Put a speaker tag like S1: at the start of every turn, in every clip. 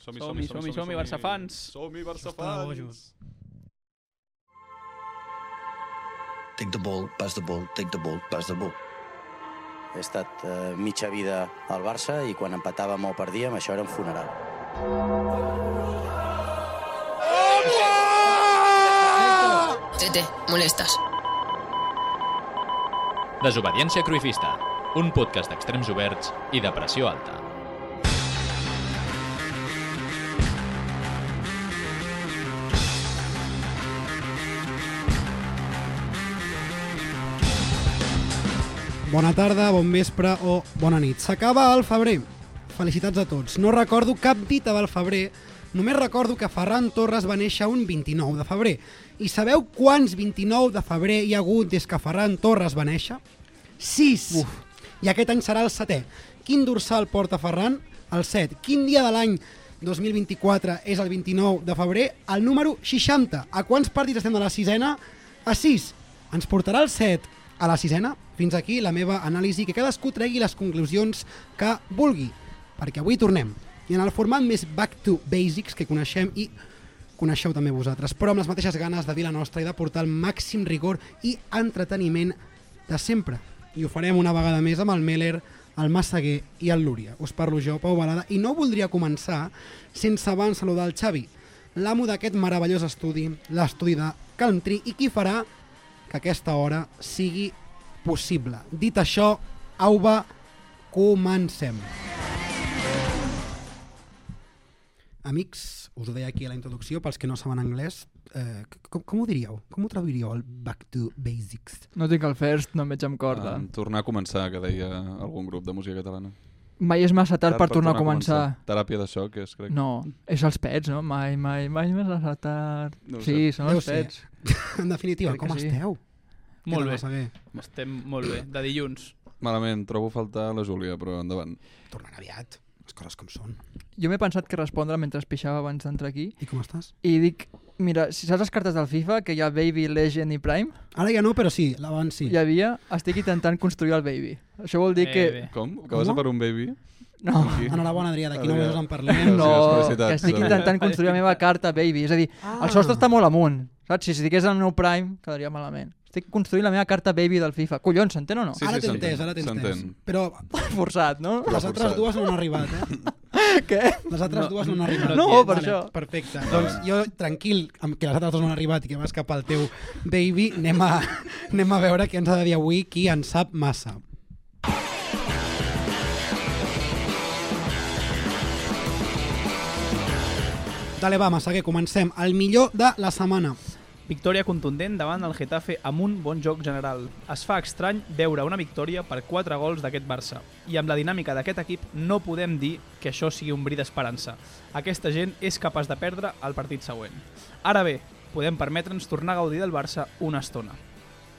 S1: Som-hi,
S2: Som-hi, som-hi, som-hi, Barça fans.
S1: Som-hi, Barça
S3: Això està bojo.
S1: fans.
S4: Take the ball, pass the ball, take the ball, pass the ball.
S5: He estat eh, mitja vida al Barça i quan empatàvem o perdíem, això era un funeral.
S6: Tete, molestas.
S7: Desobediència Cruifista, un podcast d'extrems oberts i de pressió alta.
S3: Bona tarda, bon vespre o bona nit. S'acaba el febrer. Felicitats a tots. No recordo cap dita del febrer, només recordo que Ferran Torres va néixer un 29 de febrer. I sabeu quants 29 de febrer hi ha hagut des que Ferran Torres va néixer? 6! Uf. I aquest any serà el setè. Quin dorsal porta Ferran? El 7. Quin dia de l'any 2024 és el 29 de febrer? El número 60. A quants partits estem de la sisena? A 6. Ens portarà el 7 a la sisena. Fins aquí la meva anàlisi, que cadascú tregui les conclusions que vulgui, perquè avui tornem. I en el format més back to basics que coneixem i coneixeu també vosaltres, però amb les mateixes ganes de dir la nostra i de portar el màxim rigor i entreteniment de sempre. I ho farem una vegada més amb el Meller, el Massaguer i el Lúria. Us parlo jo, Pau Balada, i no voldria començar sense abans saludar el Xavi, l'amo d'aquest meravellós estudi, l'estudi de Calm Tree, i qui farà que aquesta hora sigui possible. Dit això, auba, comencem. Amics, us ho deia aquí a la introducció, pels que no saben anglès, eh, com, com ho diríeu? Com ho traduiríeu el Back to Basics?
S2: No tinc el first, no em veig amb corda.
S1: Em tornar a començar, que deia algun grup de música catalana.
S2: Mai és massa tard per tornar a començar.
S1: Teràpia de xoc, és, crec.
S2: No, és els pets, no? Mai, mai, mai més massa tard.
S1: No ho
S2: sí, són
S3: Deu
S2: els
S3: ser.
S2: pets.
S3: En definitiva,
S2: Crec que
S3: com
S2: sí.
S3: esteu?
S8: Molt bé,
S3: bé.
S8: estem molt bé, de dilluns.
S1: Malament, trobo a faltar la Júlia, però endavant.
S3: Tornant aviat, les coses com són.
S2: Jo m'he pensat que respondre mentre es pixava abans d'entrar aquí
S3: I com estàs?
S2: i dic, mira, si saps les cartes del FIFA, que hi ha Baby, Legend i Prime,
S3: Ara ja no, però sí, l'abans sí.
S2: hi havia, estic intentant construir el Baby. Això vol dir
S8: Bé,
S2: que...
S8: bé.
S1: Com? Que vas a
S3: Com?
S1: per un baby?
S2: No,
S1: Sí.
S3: Enhorabona, Adrià, d'aquí nou
S1: Adrià.
S3: mesos en parlem.
S2: no, que
S1: felicitats,
S2: estic
S1: Xavi.
S2: intentant construir la meva carta Baby. És a dir,
S3: Ah.
S2: el sostre està molt amunt. Saps? Si estigués en el meu Prime, quedaria malament. Estic construint la meva carta Baby del FIFA. Collons, s'entén o no?
S1: Sí,
S3: ara t'he
S1: s'entén,
S3: entès, ara t'he entès.
S1: s'entén.
S3: Però
S2: Forçat, no?
S1: Però
S3: les altres
S1: forçat.
S3: dues no han arribat, eh?
S2: Què?
S3: Les altres no, dues no han arribat.
S2: No,
S3: Bien,
S2: per això.
S3: Perfecte. Doncs jo, tranquil, amb que les altres dues no han arribat i que vas cap al teu baby, anem a, anem a veure què ens ha de dir avui qui en sap massa. Dale, va, massa, que comencem. El millor de la setmana.
S8: Victòria contundent davant el Getafe amb un bon joc general. Es fa estrany veure una victòria per 4 gols d'aquest Barça. I amb la dinàmica d'aquest equip no podem dir que això sigui un bri d'esperança. Aquesta gent és capaç de perdre el partit següent. Ara bé, podem permetre'ns tornar a gaudir del Barça una estona.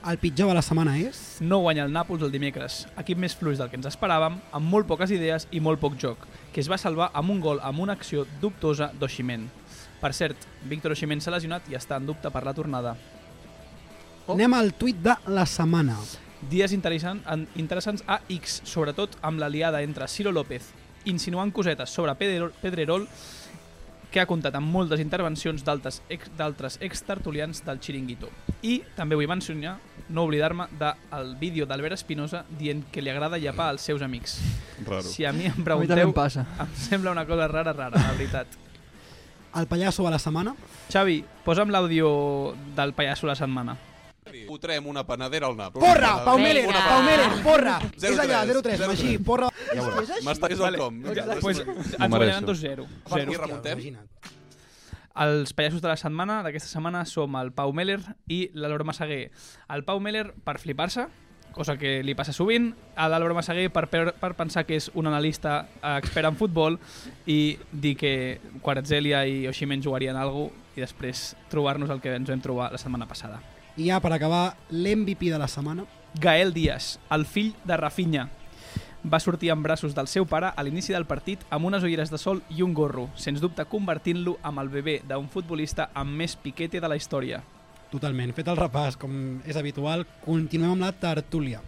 S3: El pitjor de la setmana és...
S8: No guanya el Nàpols el dimecres, equip més fluix del que ens esperàvem, amb molt poques idees i molt poc joc, que es va salvar amb un gol amb una acció dubtosa d'Oximen. Per cert, Víctor Oximen s'ha lesionat i està en dubte per la tornada.
S3: Oh. Anem al tuit de la setmana.
S8: Dies interessant, en, interessants a X, sobretot amb l'aliada entre Ciro López, insinuant cosetes sobre Pedrerol, Pedrerol que ha comptat amb moltes intervencions d'altres ex- d'altres extertulians del Chiringuito. I també vull mencionar, no oblidar-me, del vídeo d'Albert Espinosa dient que li agrada llapar als seus amics.
S1: Raro.
S8: Si a mi em
S2: A mi també
S8: pregunteu,
S2: em passa.
S8: em sembla una cosa rara, rara, la veritat.
S3: El pallasso de la setmana.
S8: Xavi, posa'm l'àudio del pallasso la setmana.
S9: Fotrem una panadera al Nàpols.
S3: Porra, Pau
S6: Vinga.
S3: Meller, Pau Meller, porra. és allà,
S9: 03,
S3: 0-3, Magí, porra.
S9: Ja veuràs. M'estàs al com.
S8: Ja,
S9: Vinga, després-
S8: pues, ens
S1: mereixo.
S8: guanyaran 2-0.
S9: Zero.
S3: Hòstia,
S9: remuntem?
S3: imagina't.
S8: Els pallassos de la setmana d'aquesta setmana som el Pau Meller i l'Alor Massaguer. El Pau Meller per flipar-se, cosa que li passa sovint, a l'Alor Massaguer per, per, per pensar que és un analista eh, expert en futbol i dir que Quaratzelia i Oximen jugarien alguna i després trobar-nos el que ens vam trobar la setmana passada.
S3: I ja per acabar, l'MVP de la setmana.
S8: Gael Díaz, el fill de Rafinha. Va sortir en braços del seu pare a l'inici del partit amb unes ulleres de sol i un gorro, sens dubte convertint-lo amb el bebè d'un futbolista amb més piquete de la història.
S3: Totalment, fet el repàs, com és habitual, continuem amb la tertúlia.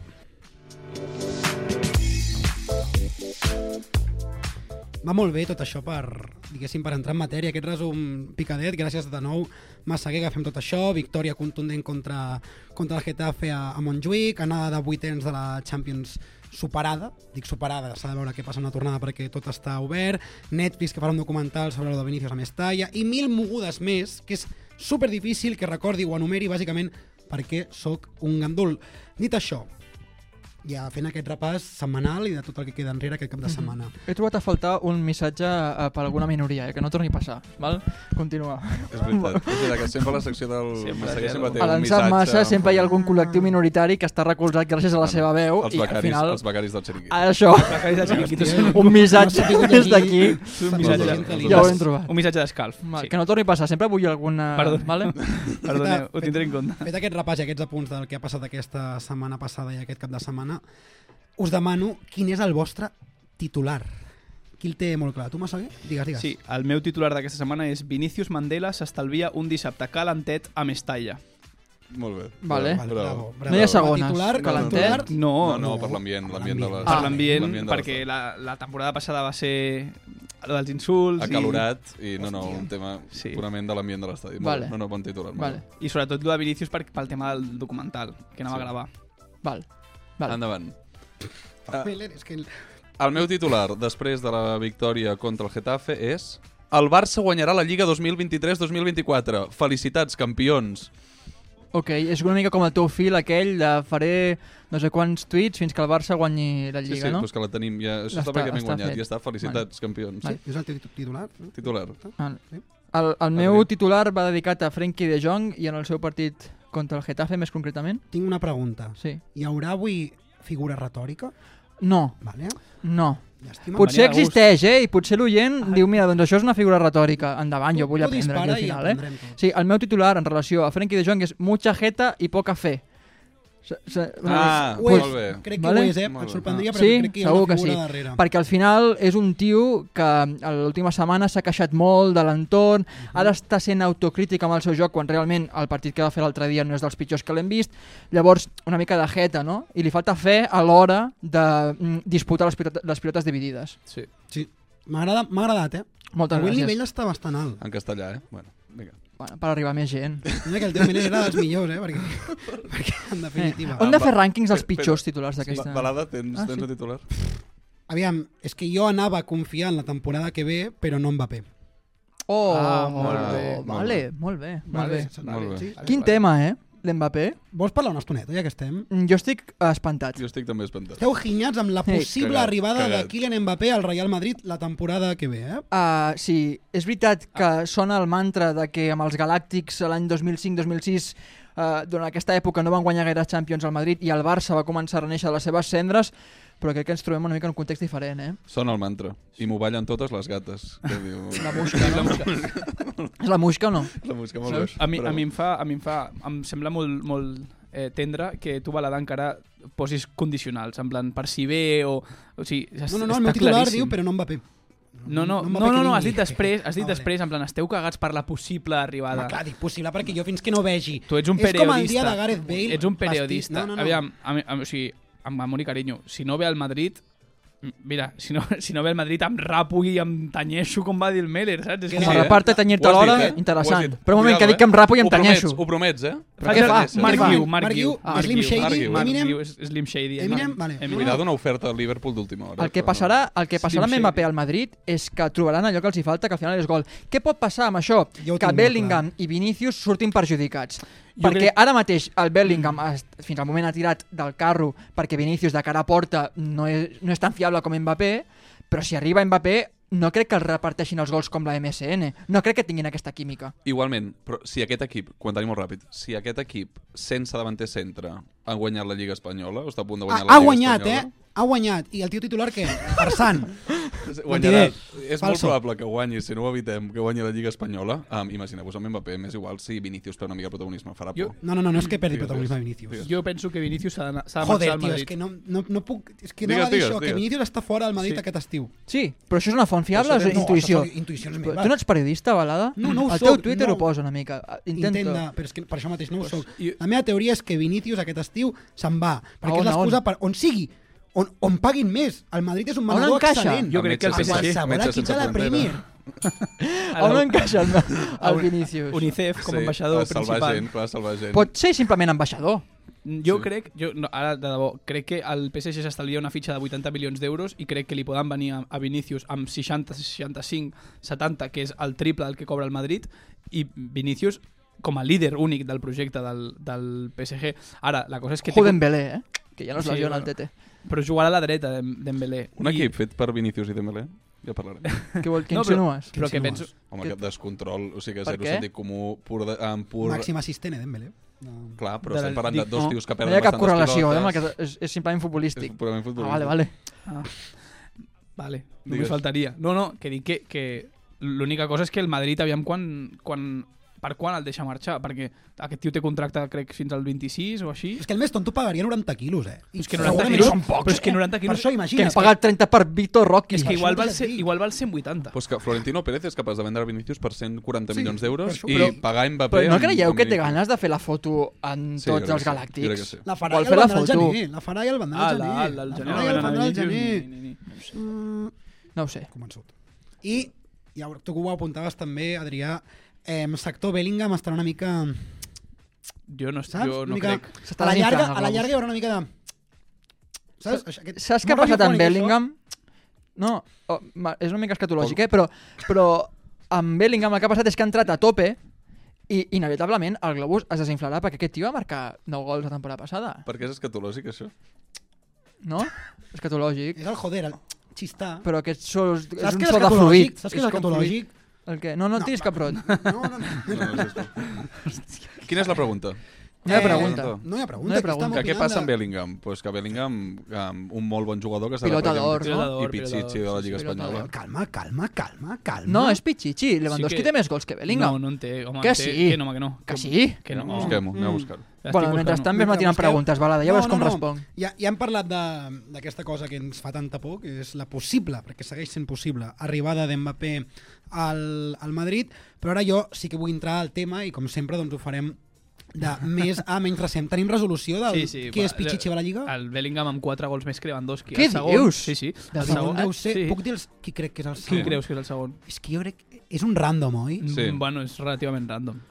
S3: va molt bé tot això per, diguéssim, per entrar en matèria. Aquest resum picadet, gràcies de nou, Massaguer, que fem tot això, victòria contundent contra, contra el Getafe a, a Montjuïc, anada de vuitens de la Champions superada, dic superada, s'ha de veure què passa en la tornada perquè tot està obert, Netflix que farà un documental sobre el de Vinicius a Mestalla, i mil mogudes més, que és super difícil que recordi o enumeri bàsicament perquè sóc un gandul. Dit això, ja fent aquest repàs setmanal i de tot el que queda enrere aquest cap de setmana.
S2: He trobat a faltar un missatge eh, per alguna minoria, eh, que no torni a passar. Val? Continua.
S1: És veritat. És veritat que sempre a la secció del Massaguer sempre té
S2: A
S1: un
S2: l'Ensat
S1: missatge.
S2: Massa sempre hi ha algun col·lectiu minoritari que està recolzat gràcies a la seva veu
S1: els
S2: i
S1: becaris,
S2: al final...
S1: els becaris del xeriquí.
S2: Això,
S8: Becaris del xiringuito són
S2: un missatge des d'aquí,
S8: un missatge,
S2: ja ho hem trobat.
S8: un missatge d'escalf.
S2: Mal,
S8: Sí.
S2: que no torni a passar, sempre vull alguna...
S8: Perdó.
S2: Vale?
S8: Perdoneu, ho tindré en compte.
S3: Fet aquest repàs i aquests apunts del que ha passat aquesta setmana passada i aquest cap de setmana, us demano quin és el vostre titular. Qui el té molt clar? Tu, Massaguer? Digues, digues.
S8: Sí, el meu titular d'aquesta setmana és Vinicius Mandela s'estalvia un dissabte calentet a Mestalla.
S1: Molt bé.
S2: Vale.
S3: Vale, bravo, bravo.
S2: No hi ha segones.
S3: Titular,
S1: Calentet.
S3: titular,
S8: No,
S1: No, no, per l'ambient, l'ambient de les...
S8: per
S2: Ah.
S8: l'ambient,
S1: de les-
S8: perquè la, la temporada passada va ser lo dels insults
S1: acalorat i no, no, un tema
S8: Sí.
S1: purament de l'ambient de l'estadi.
S2: Vale.
S1: Vale. No, no, bon titular.
S2: Vale,
S1: molt
S8: i, i sobretot lo de Vinicius per, pel tema del documental que anava
S1: Sí.
S8: a gravar.
S2: val.
S1: bé.
S2: Vale.
S1: Endavant.
S3: Miller, és que...
S1: El meu titular, després de la victòria contra el Getafe, és... El Barça guanyarà la Lliga 2023-2024. Felicitats, campions.
S2: Ok, és una mica com el teu fil aquell de faré no sé quants tuits fins que el Barça guanyi la
S1: Sí,
S2: Lliga,
S1: sí,
S2: no?
S1: doncs que la tenim ja. Això està,
S2: Està-
S1: perquè hem
S2: està
S1: guanyat.
S2: fet.
S1: Ja està, felicitats, campions.
S2: Vale.
S3: És el teu titular? no?
S1: Titular.
S2: El,
S3: Sí.
S2: el, el meu titular va dedicat a Frenkie de Jong i en el seu partit contra el Getafe, més concretament.
S3: Tinc una pregunta.
S2: Sí.
S3: Hi haurà avui figura retòrica?
S2: No,
S3: Vale.
S2: no.
S3: Llàstima.
S8: de
S2: Potser
S8: gust.
S2: existeix, eh? I potser l'oient diu, mira, doncs això és una figura retòrica. Endavant, jo vull
S3: tu
S2: aprendre aquí
S3: dispara
S2: al
S3: i
S2: final, eh?
S3: aprendrem tot.
S2: Sí, el meu titular en relació a Frenkie de Jong és mucha jeta i poca fe. Se, se,
S1: Ah,
S3: Ho és,
S1: molt bé.
S3: Crec que
S2: Vale? Ah,
S3: ho és, eh?
S1: Molt bé.
S3: Et sorprendria, però
S2: sí,
S3: crec que hi ha
S2: segur
S3: una
S2: que
S3: figura
S2: sí.
S3: darrere.
S2: Perquè al final és un tio que mm, a l'última setmana s'ha queixat molt de l'entorn, ara està sent autocrític amb el seu joc quan realment el partit que va fer l'altre dia no és dels pitjors que l'hem vist. Llavors, una mica de jeta, no? I li falta fe a l'hora de mm, disputar les, pilota, les pilotes dividides.
S1: Sí.
S3: Sí. M'agrada- M'ha agradat, eh?
S2: Moltes
S3: Avui el
S2: gràcies.
S3: nivell està bastant alt.
S1: En castellà, eh? Bueno, vinga.
S2: Bueno, per arribar més gent.
S3: Mira que el teu Miller era dels millors, eh? Perquè, perquè en
S8: Eh,
S3: definitiva...
S1: Ah,
S2: Hem de fer rànquings dels
S1: Espera,
S2: pitjors titulars d'aquesta...
S1: Ba- Balada, tens,
S2: Ah,
S1: tens
S2: sí.
S1: el titular?
S3: Aviam, és que jo anava a confiar en la temporada que ve, però no en Mbappé.
S2: Oh,
S8: Ah,
S2: molt
S1: molt
S2: bé.
S1: bé,
S2: Vale, molt bé. Molt bé.
S1: Molt bé.
S3: Sí.
S2: Quin tema, eh? L'Mbappé.
S3: Vols parlar una estoneta, ja que estem?
S2: Mm, Jo estic eh, espantat.
S1: Jo estic també espantat.
S3: Esteu ginyats amb la
S2: Sí.
S3: possible
S1: Cagat,
S3: arribada
S1: cagat.
S3: de Kylian Mbappé al Real Madrid la temporada que ve, eh?
S2: Uh, sí, és veritat que sona el mantra de que amb els Galàctics l'any 2005-2006 uh, durant aquesta època no van guanyar gaire Champions al Madrid i el Barça va començar a reneixer de les seves cendres però crec que ens trobem una mica en un context diferent eh?
S1: Sona el mantra. I m'ho ballen totes les gates. Que diu...
S2: la musca, no? és la musca o no?
S1: La música, molt bé.
S8: A mi,
S1: Però-
S8: a mi em fa, a mi em fa, em sembla molt, molt eh, tendre que tu Balada encara posis condicionals, en plan per si ve o... o sigui, es-
S3: No, no, no, el
S8: està
S3: meu titular
S8: claríssim.
S3: diu, però no Mbappé.
S8: No, no,
S3: no
S8: no,
S3: em va
S8: no,
S3: fer
S8: no,
S3: que
S8: has dit
S3: vingui.
S8: després, has dit
S3: Ah, vale.
S8: després, en plan, esteu cagats per la possible arribada.
S3: Home, clar, dic possible, perquè jo fins que no vegi...
S8: Tu ets un
S3: és
S8: periodista.
S3: com el dia de Gareth Bale.
S8: Ets un
S3: vestit-
S8: periodista.
S3: No, no, no.
S8: Aviam, a, mi- a, mi- o sigui, amb amor i carinyo, si no ve al Madrid, m- mira, si no, si no ve al Madrid em rapo i em tanyeixo com va dir el Meller, saps? És
S3: Que
S8: que
S2: com a
S1: eh?
S2: reparte
S1: Ho
S2: tanyir-te
S1: has dit,
S2: l'hora,
S1: eh? Ho has
S2: interessant
S1: dit.
S2: però un moment que
S1: Cuidado,
S2: dic que em rapo i em
S1: Ho promets,
S2: tanyeixo
S1: Ho promets, eh?
S8: Faig
S3: Què
S8: el-
S3: fa?
S1: Promets, eh?
S8: Marc
S3: Què fa?
S8: Guiu, Marc
S3: Marc Guiu,
S8: Guiu.
S2: Ah,
S3: Slim
S2: Marc Guiu,
S3: Shady,
S1: Marc Guiu.
S3: Eminem...
S8: Guiu és Slim Shady.
S3: Eminem,
S8: Eminem.
S3: vale.
S8: Eminem.
S1: Cuidado una oferta al Liverpool d'última hora.
S2: el que
S1: però no.
S2: passarà, el que passarà amb
S8: Slim
S2: Mbappé al Madrid és que trobaran allò que els hi falta, que al final és gol. Què pot passar amb això?
S3: Jo ho tinc
S2: que
S3: molt
S2: Bellingham i Vinicius surtin perjudicats.
S8: Jo
S2: perquè
S8: crec-
S2: ara mateix el
S3: Mm.
S2: Bellingham ha- fins al moment ha tirat del carro perquè Vinicius de cara a porta no és, no és tan fiable com Mbappé, però si arriba Mbappé no crec que els reparteixin els gols com la MSN. No crec que tinguin aquesta química.
S1: Igualment, però si aquest equip, quan tenim molt ràpid, si aquest equip, sense davanter centre, ha guanyat la Lliga Espanyola, o està a punt de
S3: Ha,
S1: guanyar
S2: Ah,
S1: la
S3: ha
S1: Lliga
S3: guanyat, eh?
S1: Espanyola,
S3: Ha guanyat. I el tio titular què? Farsant.
S1: eh? Guanyarà. És molt
S3: Falso.
S1: probable que guanyi, si no ho evitem, que guanyi la Lliga Espanyola. Um, Imagineu-vos amb Mbappé, m'és igual si Vinicius té una mica de protagonisme, farà
S8: Jo-
S1: por.
S3: No, no, no, no és que perdi
S1: Digues,
S3: protagonisme a
S1: digues.
S3: Vinicius.
S8: Jo penso que Vinicius s'ha d'anar- s'ha de marxar
S3: Joder,
S8: al
S3: tio, és
S8: Madrid.
S3: que no, no, no puc... És que
S1: Digues,
S3: anava a dir
S1: digues,
S3: això, que
S1: digues.
S3: Vinicius està fora del Madrid
S8: Sí.
S3: aquest estiu.
S2: Sí, però això és una font fiable o
S3: Això
S2: és
S3: no,
S2: intuïció?
S3: això són intuïcions
S2: Però
S3: meves.
S2: tu no ets periodista, Balada?
S3: No, no ho
S2: El teu
S3: soc,
S2: Twitter
S3: no.
S2: ho posa una mica. Intento.
S3: Intenta, però és que per això mateix no ho soc.
S8: i-
S3: La meva teoria és que Vinicius aquest estiu se'n va, perquè
S2: A on,
S3: és l'excusa
S2: a on?
S3: per on sigui, on, on paguin més. El Madrid és un
S2: On
S3: manador
S2: encaixa?
S3: excel·lent.
S8: Jo crec que el
S3: A
S8: PSG.
S3: qualsevol
S1: Metge
S3: equip
S1: sense
S3: de la
S1: frontera.
S3: Premier. Oh,
S2: On encaixa el, el Vinícius?
S8: UNICEF com a ambaixador
S1: a salvar
S8: principal.
S1: Gent, clar, a salvar gent.
S2: Pot ser simplement ambaixador.
S8: Jo crec, jo, no, ara de debò, crec que el PSG s'estalvia una fitxa de 80 milions d'euros i crec que li poden venir a, a Vinícius amb 60, 65, 70, que és el triple del que cobra el Madrid, i Vinícius com a líder únic del projecte del, del PSG. Ara, la cosa és que... té
S2: Joden Belé, eh? Que ja no es
S8: Sí,
S2: lesiona el
S8: bueno.
S2: Tete.
S8: com- Però jugarà a la dreta, Dem- Dembélé.
S1: Un
S8: I-
S1: equip fet per Vinícius i Dembélé? Ja parlarem.
S2: Què vol que
S8: No,
S2: insinues?
S8: Però que penso...
S1: Home,
S2: Que-
S1: cap descontrol, o sigui que
S2: Per
S1: zero
S2: què?
S1: sentit comú, pur de, amb pur...
S3: Màxim assistent, eh, Dembélé. No.
S1: Clar, però
S8: De la-
S1: estem parlant de
S8: dic,
S1: dos
S8: no,
S1: tios que
S2: No
S1: perden
S2: hi ha cap
S1: bastantes
S2: correlació, eh, amb el
S1: pilotes.
S2: que és, és simplement futbolístic.
S1: És purament
S2: Ah,
S1: futbolístic.
S2: vale, vale.
S8: Vale,
S1: Digues.
S8: només faltaria. No, no, que dic que, que l'única cosa és que el Madrid aviam quan, quan, per quan el deixa marxar, perquè aquest tio té contracte crec fins al 26 o així.
S3: És que el més tonto pagaria 90 quilos, eh? I
S8: És que 90
S3: segurament-
S8: quilos són pocs, Però és que 90
S3: Per
S8: quilos-
S3: això,
S2: Que
S3: imagina't.
S2: hem pagat 30 per Vitor Rocky.
S8: És que
S3: això
S8: igual
S3: no
S8: val,
S3: t'ho
S8: ser,
S3: dic.
S8: igual val 180.
S1: Pues que Florentino Pérez és capaç de vendre a Vinícius per 140
S3: Sí,
S1: milions
S3: per
S1: d'euros
S3: això.
S1: i
S3: Però-
S1: pagar Mbappé...
S2: Però no
S1: amb-
S2: creieu
S1: amb
S2: que té
S1: Vinícius?
S2: ganes de fer la foto en
S1: Sí, jo crec que sí,
S2: tots els
S1: jo crec que
S2: galàctics?
S1: sí.
S3: La farà i
S2: Vol
S3: el
S2: fer la
S3: vendrà al
S2: foto?
S3: gener. La farà i el
S8: Pues
S3: vendrà al gener.
S8: la- la-
S3: farà i el vendrà al gener.
S8: ni- ni- ni.
S3: Mm,
S2: No ho sé.
S3: convençut. I ja, ho- tu ho apuntaves també, Adrià, eh, sector Bellingham estarà una mica...
S8: Jo no,
S3: Saps?
S8: jo
S3: Una
S8: no
S3: mica,
S8: crec.
S2: S'està
S3: A la,
S2: desinflant
S3: llarga,
S2: el
S3: a la
S2: globus.
S3: llarga hi haurà una mica de... Saps, Això- aquest-
S2: Saps què ha
S3: molt
S2: passat amb
S3: radiofònic, això.
S2: Bellingham? No, oh, ma- és una mica escatològic, eh? però, però amb Bellingham el que ha passat és que ha entrat a tope i inevitablement el globus es desinflarà perquè aquest tio va marcar 9 gols la temporada passada,
S1: Per què és escatològic, això?
S2: no? Escatològic.
S3: És el joder, el xistar.
S2: Però aquest so, és
S3: Saps
S2: un
S3: què és
S2: so de
S3: escatològic?
S2: fluid.
S3: Saps què és
S2: com
S3: escatològic?
S2: fluid. El que? No, no,
S3: No,
S2: no tiris
S3: va.
S2: cap rot.
S3: No, no, no.
S1: No, no, és esto. Quina és la pregunta?
S2: No hi ha
S3: Eh,
S2: pregunta.
S3: No hi ha pregunta.
S2: No hi ha
S3: que estem
S2: pregunta.
S1: Que què
S3: opinant
S1: passa
S3: de-
S1: amb Bellingham? Pues que Bellingham, um, un molt bon jugador que s'ha de
S2: Pilota
S1: premiar.
S2: d'or, no?
S1: I Pichichi de la Lliga
S2: Pilota d'or.
S1: Espanyola.
S3: Calma, calma, calma, calma.
S2: No, és Pichichi. Lewandowski
S8: Sí que-
S2: té més gols que
S8: No,
S2: Bellingham.
S8: no en té. Home,
S2: Que
S8: en té,
S2: sí.
S8: Que no, home, que no.
S2: Que sí?
S8: Que no.
S1: Busquem-ho,
S2: Mm.
S1: anem a buscar-ho.
S8: L'estic
S2: Bueno,
S8: buscant.
S2: mentrestant més
S3: Mentre
S2: m'atiren
S3: busqueu-
S2: preguntes, balada. Ja veuràs com responc.
S3: Ja, ja hem parlat de- d'aquesta cosa que ens fa tanta por, que és la possible, perquè segueix sent possible, arribada d'Mbappé al, al Madrid, però ara jo sí que vull entrar al tema i com sempre doncs, ho farem de més a menys recent. Tenim resolució del
S8: Sí, sí,
S3: qui
S8: va,
S3: és Pichichi a la Lliga? El...
S8: El Bellingham amb 4 gols més que Lewandowski.
S2: Què
S8: el segon,
S2: dius?
S8: Sí, sí.
S2: De
S8: El
S2: veritat?
S8: segon,
S3: Deu ser,
S8: sí.
S3: Puc dir els- qui crec que és el
S8: Qui
S3: segon?
S8: creus que és el segon?
S3: És que jo crec... És un random, oi?
S1: Sí.
S8: Mm, Bueno, és relativament random.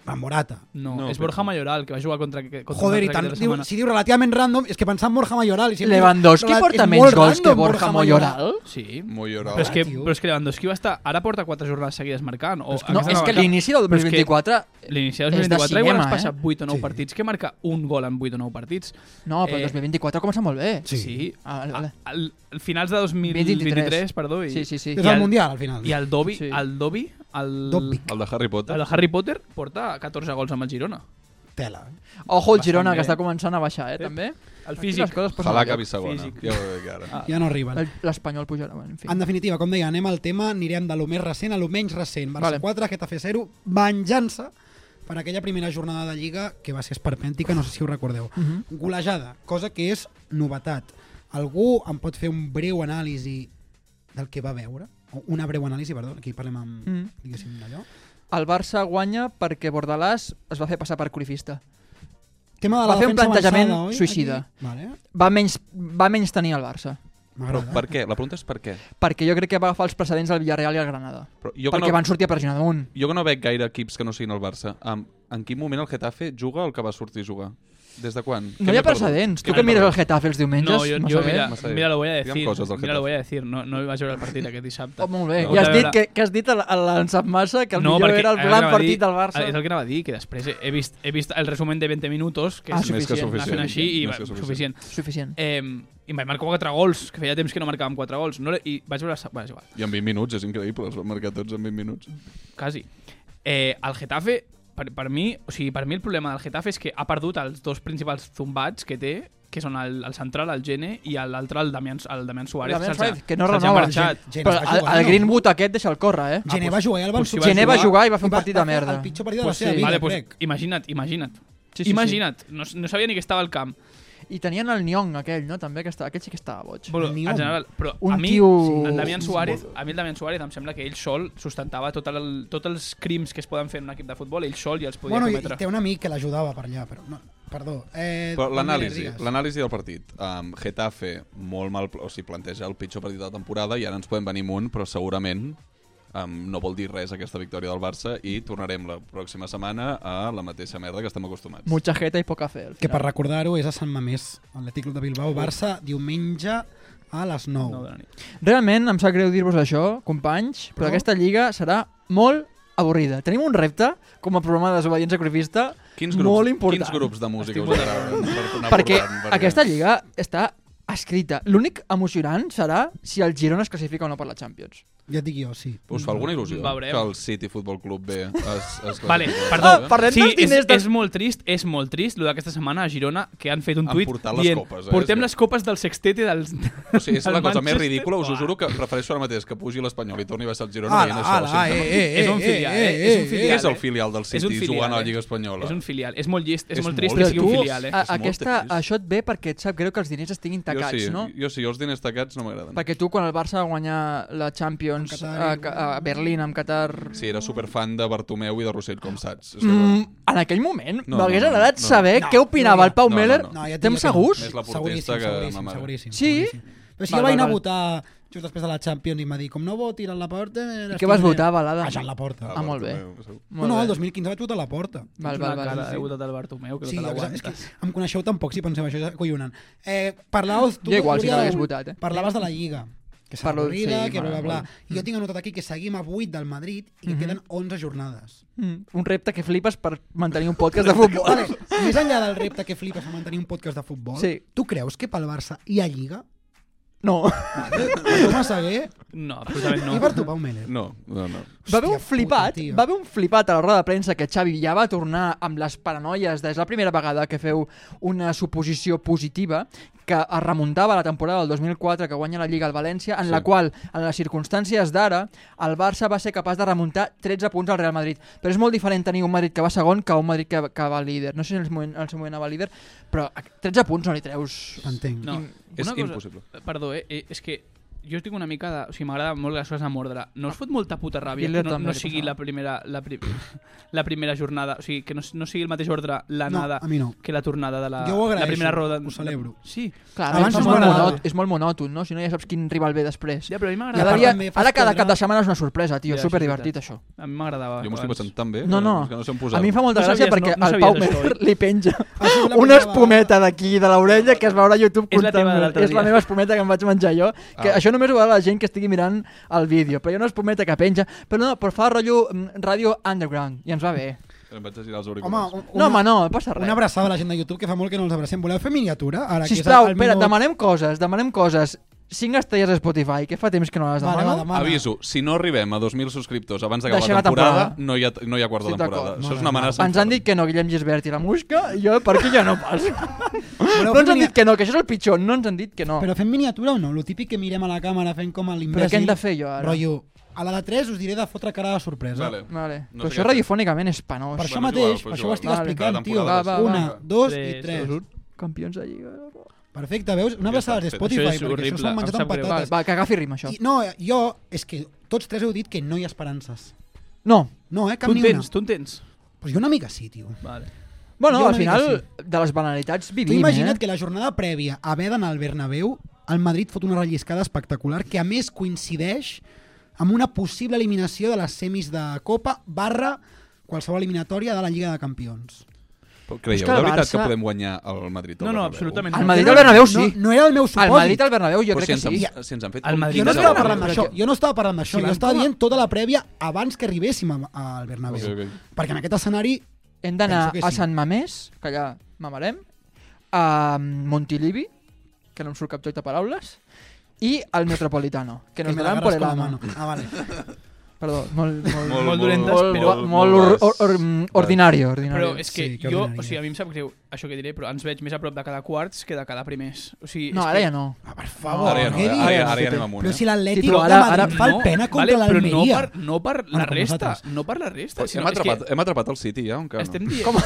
S3: Va, Morata.
S8: No,
S1: No,
S8: és
S1: però-
S8: Borja Mayoral, que va jugar contra... contra
S3: Joder, i
S8: Manresa
S3: tant,
S8: aquesta
S3: diu,
S8: setmana.
S3: si diu relativament random, és que pensant en Borja Mayoral... I sempre-
S2: Lewandowski
S3: Relat-
S2: porta
S3: és
S2: menys
S3: molt
S2: gols que
S3: random,
S2: Borja Mayoral?
S8: Sí.
S1: Molt
S8: Però és,
S1: llorat.
S8: que,
S3: tio.
S8: però és que Lewandowski va estar... Ara porta 4 jornades seguides marcant. O
S2: No, és que l'inici del
S8: Però és que
S2: 2024...
S8: L'inici del
S2: és de
S8: 2024 igual
S2: cinema,
S8: has passat
S2: eh?
S8: 8 o 9
S3: Sí.
S8: partits que marca un gol en 8 o 9 partits.
S2: No, però el
S8: Eh,
S2: 2024 comença molt bé.
S3: Sí.
S2: Ah, vale, vale.
S8: Al, al finals de 2023,
S2: 23,
S8: perdó. I,
S2: Sí, sí, sí.
S3: És
S8: I
S3: el
S8: el-
S3: Mundial, al final.
S8: I el Dobby,
S2: Sí.
S8: sí. el Dobby, el,
S3: Dobby.
S1: El de Harry Potter.
S8: el Harry Potter porta 14 gols amb el Girona.
S3: Tela. eh?
S2: Ojo al Girona,
S8: Bastant
S2: que
S8: bé.
S2: està començant a baixar, eh,
S8: Sí.
S2: també.
S8: El
S2: Aquí
S8: físic.
S2: Les coses posen
S1: Ojalà
S2: al
S1: que
S2: lloc.
S1: segona.
S8: Físic. Ah.
S1: Ja ho veig ara.
S3: Ja no arriben.
S2: Ah. El- L'Espanyol pujarà, bueno, en fi.
S3: En definitiva, com deia, anem al tema, anirem de lo més recent a lo menys recent. Barça
S2: Vale.
S3: vale. 4, Getafe 0, venjança per aquella primera jornada de Lliga que va ser esperpèntica, no sé si ho recordeu.
S2: Mhm.
S3: Golejada, cosa que és novetat. Algú em pot fer un breu anàlisi del que va veure? O Una breu anàlisi, perdó, aquí parlem amb,
S2: Mm.
S3: diguéssim, d'allò.
S2: El Barça guanya perquè Bordalàs es va fer passar per corifista.
S3: Tema de
S2: Va
S3: la
S2: fer un
S3: defensa
S2: plantejament
S3: avançada, oi?
S2: suïcida.
S3: Aquí? Vale,
S2: Va menys, va menys tenir el Barça.
S1: Però
S3: m'agrada.
S1: per què? La pregunta és per què.
S2: Perquè jo crec que va agafar els precedents del Villarreal i el Granada.
S1: Però jo, que
S2: perquè
S1: no,
S2: van sortir a pressionar damunt.
S1: jo que no veig gaire equips que no siguin el Barça, en, en quin moment el Getafe juga el que va sortir a jugar? Des de quan? Què
S2: No hi
S1: m'he
S2: ha
S1: perdut?
S2: precedents. Tu
S1: Què
S2: que
S1: m'he
S2: mires el
S1: perdut?
S2: Getafe els diumenges...
S8: No, jo, jo
S2: sé bé.
S8: mira,
S1: massa bé.
S8: mira, lo voy a
S1: Digue'm
S8: decir.
S1: coses del
S8: Mira,
S1: Getafe.
S8: lo voy a decir. No, no hi vaig veure el partit aquest dissabte.
S2: Oh, molt bé.
S8: No,
S2: I has
S8: de
S2: dit
S8: veure-
S2: que, que has dit a la- a l'ensap massa que el
S8: no,
S2: millor
S8: perquè
S2: era el
S8: ara
S2: gran
S8: anava a
S2: partit
S8: dir- Ah,
S2: del Barça.
S8: És el que anava a dir, que després he vist, he vist el resumen de 20 minuts, que
S2: Ah,
S8: és
S1: Més que
S2: suficient.
S1: suficient.
S8: així, i
S1: Més
S8: va,
S1: que
S8: suficient.
S2: Suficient.
S8: Eh, I vaig marcar 4 gols, que feia temps que no marcàvem 4 gols. No, l'he- I vaig veure... Bueno, és igual,
S1: I en 20 minuts, és increïble, els van marcar tots en 20 minuts.
S8: quasi. Eh, el Getafe, per, per, mi, o sigui, per mi el problema del Getafe és que ha perdut els dos principals zumbats que té, que són el, el central, el Gene, i el- l'altre, el Damián, el Damián Suárez.
S2: Damián
S8: se'ls ha-
S2: Suárez, que no
S8: se'ls ha
S2: renova.
S8: marxat.
S3: Gent
S2: Però
S3: es va
S2: el,
S3: jugar,
S2: el
S3: no?
S2: Greenwood aquest deixa el córrer, eh?
S3: Gené va jugar i el van
S8: ah, pues si
S3: substituir.
S8: va Gené va
S2: jugar i va fer un partit de
S3: va fer
S2: merda.
S3: El pitjor partit de la
S2: Pues
S3: seva
S2: sí.
S3: vida,
S8: Vale, pues,
S3: crec.
S8: imagina't, imagina't.
S2: Sí,
S8: Sí,
S2: sí,
S8: sí, imagina't, No, no sabia ni que estava al camp.
S2: I tenien el Nyong aquell, no? També, que estava, aquest sí que estava boig.
S8: Bueno,
S3: Ni
S8: en
S3: un.
S8: general, però
S2: Un
S8: a mi,
S2: tio-
S8: el Damián
S2: Sí,
S8: Suárez, a mi el Damián Suárez em sembla que ell sol sustentava tot el, tots els crims que es poden fer en un equip de futbol, ell sol i els podia
S3: Bueno, i, i
S8: cometre.
S3: té un amic que l'ajudava per allà, però... No, perdó. Eh,
S1: Però l'anàlisi,
S3: Digues.
S1: l'anàlisi del partit. Um, Getafe, molt mal... O sigui, planteja el pitjor partit de la temporada i ara ens podem venir amunt, però segurament um, no vol dir res aquesta victòria del Barça i tornarem la pròxima setmana a la mateixa merda que estem acostumats.
S2: Mucha jeta i poca fe. al
S3: Que per
S2: final.
S3: recordar-ho és a Sant Mamés, Atlètic Club de Bilbao, Barça, diumenge a les 9.
S8: No, de la nit.
S2: Realment em sap greu dir-vos això, companys, però,
S3: Però?
S2: aquesta lliga serà molt avorrida. Tenim un repte com a programa de desobediència crifista
S1: Quins grups,
S2: molt important.
S1: Quins grups de música
S8: Estic
S1: us
S8: molt
S1: agraden? Per tornar
S2: perquè
S1: portant,
S2: aquesta lliga està escrita. L'únic emocionant serà si el Girona es classifica o no per la Champions.
S3: Ja et dic jo, sí.
S1: Us fa alguna il·lusió
S8: Veurem.
S1: que el City Football Club B es, es
S8: Vale,
S1: classifica?
S8: perdó.
S2: Ah, parlem
S8: sí,
S2: dels diners
S8: és,
S2: del-
S8: és molt trist, és molt trist, lo d'aquesta setmana a Girona, que han fet un
S1: Han
S8: tuit
S1: portat les
S8: dient
S1: copes, eh?
S8: portem
S1: Sí.
S8: les copes del sextete dels...
S1: O sigui, és
S8: del
S1: la cosa més
S8: Manchester".
S1: ridícula, us ho
S8: Uah.
S1: juro que prefereixo ara mateix que pugi l'Espanyol i torni a ser el Girona
S3: Ala,
S1: veient això.
S3: ala, eh,
S1: sense-
S3: eh, eh,
S8: És un
S3: eh,
S8: filial, eh,
S3: eh,
S8: és un
S3: eh,
S8: filial.
S1: Què és el
S8: eh?
S1: filial del City jugant a la Lliga Espanyola?
S8: És un filial, és molt llest, és,
S1: És
S8: molt trist
S1: molt
S8: que sigui un
S1: trist.
S8: filial, eh?
S2: a,
S1: És molt
S2: aquesta,
S1: trist.
S2: això et ve perquè et sap greu que els diners estiguin tacats,
S1: jo sí,
S2: no?
S1: Jo sí, jo els diners tacats no m'agraden.
S2: Perquè tu, quan el Barça va guanyar la Champions
S3: Amb Qatar
S2: a,
S3: i-
S2: Ca- a Berlín amb Qatar...
S1: Sí, era superfan de Bartomeu i de Rossell, com saps. És que-
S2: Mm, en aquell moment,
S1: No,
S2: no, m'hagués
S1: no, no,
S2: agradat
S1: no.
S2: saber
S3: No,
S2: què opinava el Pau
S1: no, no,
S2: Meller.
S1: no.
S3: No, ja et dic
S2: Estem
S3: jo que no.
S2: segurs?
S1: Més la portesta
S3: seguríssim,
S1: que
S3: seguríssim,
S1: ma mare.
S3: seguríssim,
S2: Sí?
S3: seguríssim. Però si
S2: Val,
S3: jo vaig anar a
S2: val,
S3: votar just després de la Champions i em va dir, com no votis a la porta...
S2: I què vas votar,
S3: A
S2: Balada?
S3: Jean Laporta.
S2: Ah, molt bé.
S1: segur.
S3: No,
S2: Molt
S3: no, el
S2: bé.
S3: 2015 vaig votar a la porta.
S2: Val,
S8: Val,
S2: val,
S8: una cara
S2: val.
S8: de debutat al Bartomeu, que
S3: Sí,
S8: no te
S3: exacte, és
S8: l'aguanta.
S3: que em coneixeu tampoc si penseu això, és acollonant. Eh, parlaves tu...
S2: Jo igual sí que
S3: Oriol,
S2: l'hagués votat, eh?
S3: Parlaves de la Lliga, que s'ha
S2: Parlo-
S3: avorrida,
S2: sí,
S3: que bla, bla, bla.
S2: molt.
S3: I jo tinc anotat aquí que seguim a 8 del Madrid i que
S2: Mhm.
S3: queden 11 jornades.
S2: Mm, un repte que flipes per mantenir un podcast de futbol.
S3: Vale, més enllà del repte que flipes a mantenir un podcast de futbol,
S2: Sí.
S3: tu creus que pel Barça hi ha Lliga?
S2: No.
S3: Per Tomàs Seguer
S8: No, absolutament
S3: i per
S8: no.
S3: tu, Pau Meller?
S1: No, no, no.
S2: Va haver
S3: Hòstia
S2: un flipat,
S3: puta, tio.
S2: va haver un flipat a la roda de premsa que Xavi ja va tornar amb les paranoies des de la primera vegada que feu una suposició positiva que es remuntava a la temporada del 2004 que guanya la Lliga al València, en sí. la qual, en les circumstàncies d'ara, el Barça va ser capaç de remuntar 13 punts al Real Madrid. Però és molt diferent tenir un Madrid que va segon que un Madrid que, que va líder. No sé si en el moment, en el seu moment anava líder, però a 13 punts no li treus...
S3: T'entenc.
S8: No,
S1: És
S8: una cosa-
S1: impossible.
S8: Perdó, eh? eh, És que jo tinc una mica de... O sigui, m'agrada molt les coses amb ordre. No us fot molta puta ràbia
S2: Hitler
S8: que no,
S2: també
S8: no
S2: li
S8: sigui
S2: passava.
S8: la primera, la, pri la primera jornada? O sigui, que no, no sigui el mateix ordre
S3: No,
S8: l'anada
S3: a mi no.
S8: que la tornada de la,
S3: Jo ho
S8: la
S3: agraeixo,
S8: primera roda.
S3: ho celebro.
S8: Sí,
S2: Clar,
S3: Abans
S2: és,
S3: ens
S2: molt
S3: m'agradava.
S2: monòton, és molt monòton, no? Si no ja saps quin rival ve després.
S8: ja, però a mi
S2: I ara,
S8: m'agradava.
S3: part
S2: dia,
S3: també fas
S2: ara cada
S3: perdre-
S2: cap de setmana és una sorpresa,
S8: Ja,
S2: tio, és
S8: això és
S2: superdivertit això.
S8: A mi m'agradava.
S1: Jo m'ho estic
S8: abans.
S1: passant tan bé
S2: Ah, doncs.
S3: eh,
S2: No, no.
S1: que no s'han posat.
S2: A mi em fa molta
S8: No
S2: gràcia
S8: sabies,
S2: perquè
S8: no? No
S2: el
S8: sabies
S2: Pau
S8: això,
S2: Mer
S8: oi?
S2: li penja
S3: Ha sigut la
S2: una
S3: primera
S2: espumeta d'aquí, de l'orella, que es veurà a YouTube
S8: És la teva de
S2: contant-me.
S8: l'altre
S2: És la
S8: dia.
S2: meva espumeta que em vaig menjar jo. Que
S1: Ah.
S2: Això només ho veurà la gent que estigui mirant el vídeo. Però hi ha una espumeta que penja. Però no, però fa rotllo mm, ràdio underground. I ens va bé.
S1: Em vaig a girar els
S3: Home,
S1: auriculars.
S3: un-
S2: No, home, no, no passa
S3: Una
S2: res.
S3: abraçada a la gent de YouTube, que fa molt que no els abracem. Voleu fer miniatura? Ara, que és
S2: Sisplau,
S3: el
S2: espera,
S3: minut-
S2: demanem coses, demanem coses. 5 estrelles a Spotify, que fa temps que no les
S3: Vale, va,
S2: demano.
S3: demana.
S1: Aviso, si no arribem a 2.000 subscriptors abans d'acabar
S2: Deixem
S1: la
S2: la
S1: temporada,
S2: temporada.
S1: no hi ha, no hi ha quart de
S2: Estic
S1: temporada.
S2: d'acord.
S1: Això és una amenaça.
S2: Ens han dit que no, Guillem Gisbert i la Musca, i jo per aquí ja no passo.
S3: Voleu
S2: No ens
S3: fer
S2: han
S3: mini-
S2: dit que no, que això és el pitjor, no ens han dit que no.
S3: Però fem miniatura o no? Lo típic que mirem a la càmera fent com a l'imbècil.
S2: Oh. Però què hem de fer jo ara?
S3: Rotllo, a la de 3 us diré de fotre cara de sorpresa.
S1: Vale.
S2: Vale.
S1: No
S2: No però
S1: sé
S2: això
S1: què
S2: radiofònicament és penós.
S3: Per això
S1: Bueno, és igual,
S3: mateix,
S1: però
S3: per
S1: és
S3: això ho estic
S2: igual.
S3: explicant,
S1: Vale.
S3: tio.
S2: Va, va,
S3: Una,
S2: va.
S3: dos i
S8: Tres,
S3: tres.
S8: dos, un.
S2: Campions de Lliga.
S3: Perfecte, veus? Una
S1: Ja està,
S3: abraçada de
S1: fet.
S3: Spotify,
S8: Això és
S3: perquè això
S8: horrible,
S3: s'ho han menjat
S8: em
S3: amb
S8: sap greu.
S2: Va,
S3: patates.
S2: va, que agafi rima, això.
S3: I, no, jo, és que tots tres heu dit que no hi ha esperances.
S2: No.
S3: No, eh? Cap
S8: Tu en
S3: ni una.
S8: tens, tu en tens.
S3: Pues jo una mica sí, tio.
S8: Vale.
S2: Bueno,
S3: Jo
S2: al
S3: una mica
S2: final, de les banalitats
S3: Tu
S2: vivim,
S3: imagina't
S2: eh?
S3: que la jornada prèvia a haver d'anar al Bernabéu, el Madrid fot una relliscada espectacular que a més coincideix amb una possible eliminació de les semis de Copa barra qualsevol eliminatòria de la Lliga de Campions.
S1: Però Creieu,
S2: És que el
S1: de veritat
S2: Barça-
S1: que podem guanyar el Madrid? al
S8: No, no,
S1: Bernabéu?
S8: absolutament.
S2: Al
S8: no.
S2: Madrid al Bernabéu sí.
S3: No, no era el meu
S2: Al
S3: supòsit.
S2: Madrid al Bernabéu jo
S1: Però si
S2: crec que
S1: ens,
S2: sí.
S1: han, si ens han fet...
S8: El Madrid
S3: Jo no
S8: al
S3: estava
S8: Bernabéu.
S3: parlant d'això, jo no estava parlant d'això,
S8: Si
S3: jo
S8: van
S3: estava
S8: com a-
S3: dient tota la prèvia abans que arribéssim a- al Bernabéu.
S1: Ok, ok.
S3: Perquè en aquest escenari,
S2: Hem d'anar
S3: Penso que
S2: a
S3: sí.
S2: Sant Mamés, que allà mamarem, a Montilivi, que no em surt cap joc de paraules, i al Metropolitano, que nos
S3: me
S2: daran por
S3: l'agarres
S2: el
S3: con la
S2: ano.
S3: mano. Ah, vale.
S2: Perdó, molt, molt,
S1: Molt,
S8: dolentes,
S2: molt,
S8: però-
S2: molt, molt, or, or, or,
S1: Vale.
S2: ordinari, ordinari.
S8: Però és que
S3: Sí, que
S8: jo,
S3: ordinària.
S8: o sigui, a mi em sap greu. això que diré, però ens veig més a prop de cada quarts que de cada primers. O sigui,
S2: No,
S8: és
S2: ara
S8: que...
S2: ja no.
S3: Ah, per favor,
S1: Ara ja no,
S3: què
S1: ara
S3: dius?
S1: ja- ara ja anem amunt,
S3: Però
S1: eh?
S3: si l'Atlètic
S2: Sí, però
S3: de
S2: ara-
S3: Madrid
S2: ara-
S3: fa el pena contra
S8: vale, però no
S3: l'Almeria.
S8: per, no per la
S3: Bueno, com
S8: resta,
S3: nosaltres.
S8: no per la resta.
S1: Hem,
S8: sinó, és
S1: atrapat, hem atrapat el City ja,
S8: Que
S1: encara
S8: estem
S1: no.
S8: dient...
S2: Com?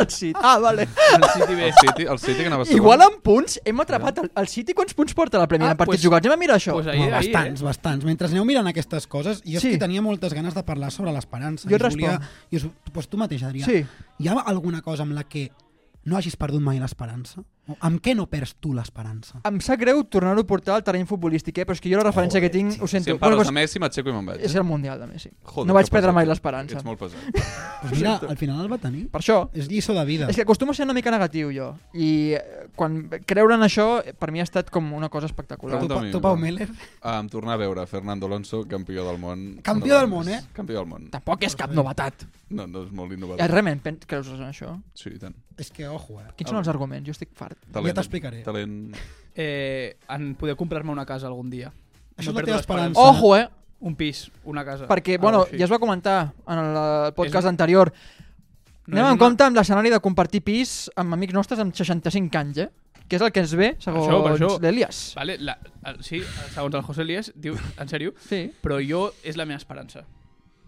S2: el City. Ah, vale.
S8: El City B.
S1: El City, el City que anava segon.
S2: Igual en punts hem atrapat el, el City. Quants punts porta la Premier
S8: Ah,
S2: ah, en partits
S8: pues-
S2: pues, jugats? Anem a mirar això.
S8: Pues
S2: Pues,
S8: ahir,
S3: No,
S8: ahir,
S3: bastants,
S8: eh?
S3: bastants. Mentre aneu mirant aquestes coses, jo és
S2: Sí.
S3: que tenia moltes ganes de parlar sobre l'esperança. I
S2: Jo
S3: us
S2: responc.
S3: I us, doncs tu mateix, Adrià.
S2: Sí.
S3: Hi ha alguna cosa amb la que no hagis perdut mai l'esperança? O Amb què no perds tu l'esperança?
S2: em sap greu tornar-ho a portar al terreny futbolístic, eh? però és que jo la referència que tinc, ho
S1: Si
S2: sento.
S1: em parles
S2: Bueno,
S1: de Messi, m'aixeco i me'n vaig. eh?
S2: és el Mundial de Messi.
S1: Joder,
S2: no vaig
S1: que
S2: perdre
S1: pesat.
S2: mai l'esperança.
S1: Ets molt pesat.
S3: Doncs mira, al final el va tenir.
S2: Ah, Per això,
S3: És lliçó de vida.
S2: És que acostumo a ser una mica negatiu, jo. I eh, quan creure en això, eh, per mi ha estat com una cosa espectacular.
S3: Tu,
S1: Pregunta-
S3: Pa- tu, Pau Meller,
S1: Um, tornar a veure Fernando Alonso, campió del món.
S3: Campió del
S1: No,
S3: món, eh?
S1: Campió del món.
S2: Tampoc és cap novetat.
S1: No, no és molt
S2: Eh,
S1: innovador.
S2: realment, pen- creus en això?
S1: Sí, i tant.
S3: és que ojo, eh?
S2: Quins són els arguments? Jo estic fart.
S1: Talent,
S3: t'explicaré.
S1: Talent...
S8: eh? En poder comprar-me una casa algun dia.
S3: Això és la
S8: perdre
S3: teva
S8: l'esperança.
S3: esperança.
S2: Ojo, eh?
S8: Un pis, una casa.
S2: Perquè,
S8: algo
S2: bueno,
S8: així.
S2: ja es va comentar en el eh, podcast
S8: És-
S2: anterior.
S8: No
S2: Anem
S8: és
S2: en
S8: una-
S2: compte amb l'escenari de compartir pis amb amics nostres amb 65 anys, eh? Que és el que ens ve,
S8: això, per
S2: segons
S8: això.
S2: l'Elias.
S8: Vale, la, el, sí, segons el José Lías, diu, en sèrio,
S2: Sí.
S8: però jo és la meva esperança.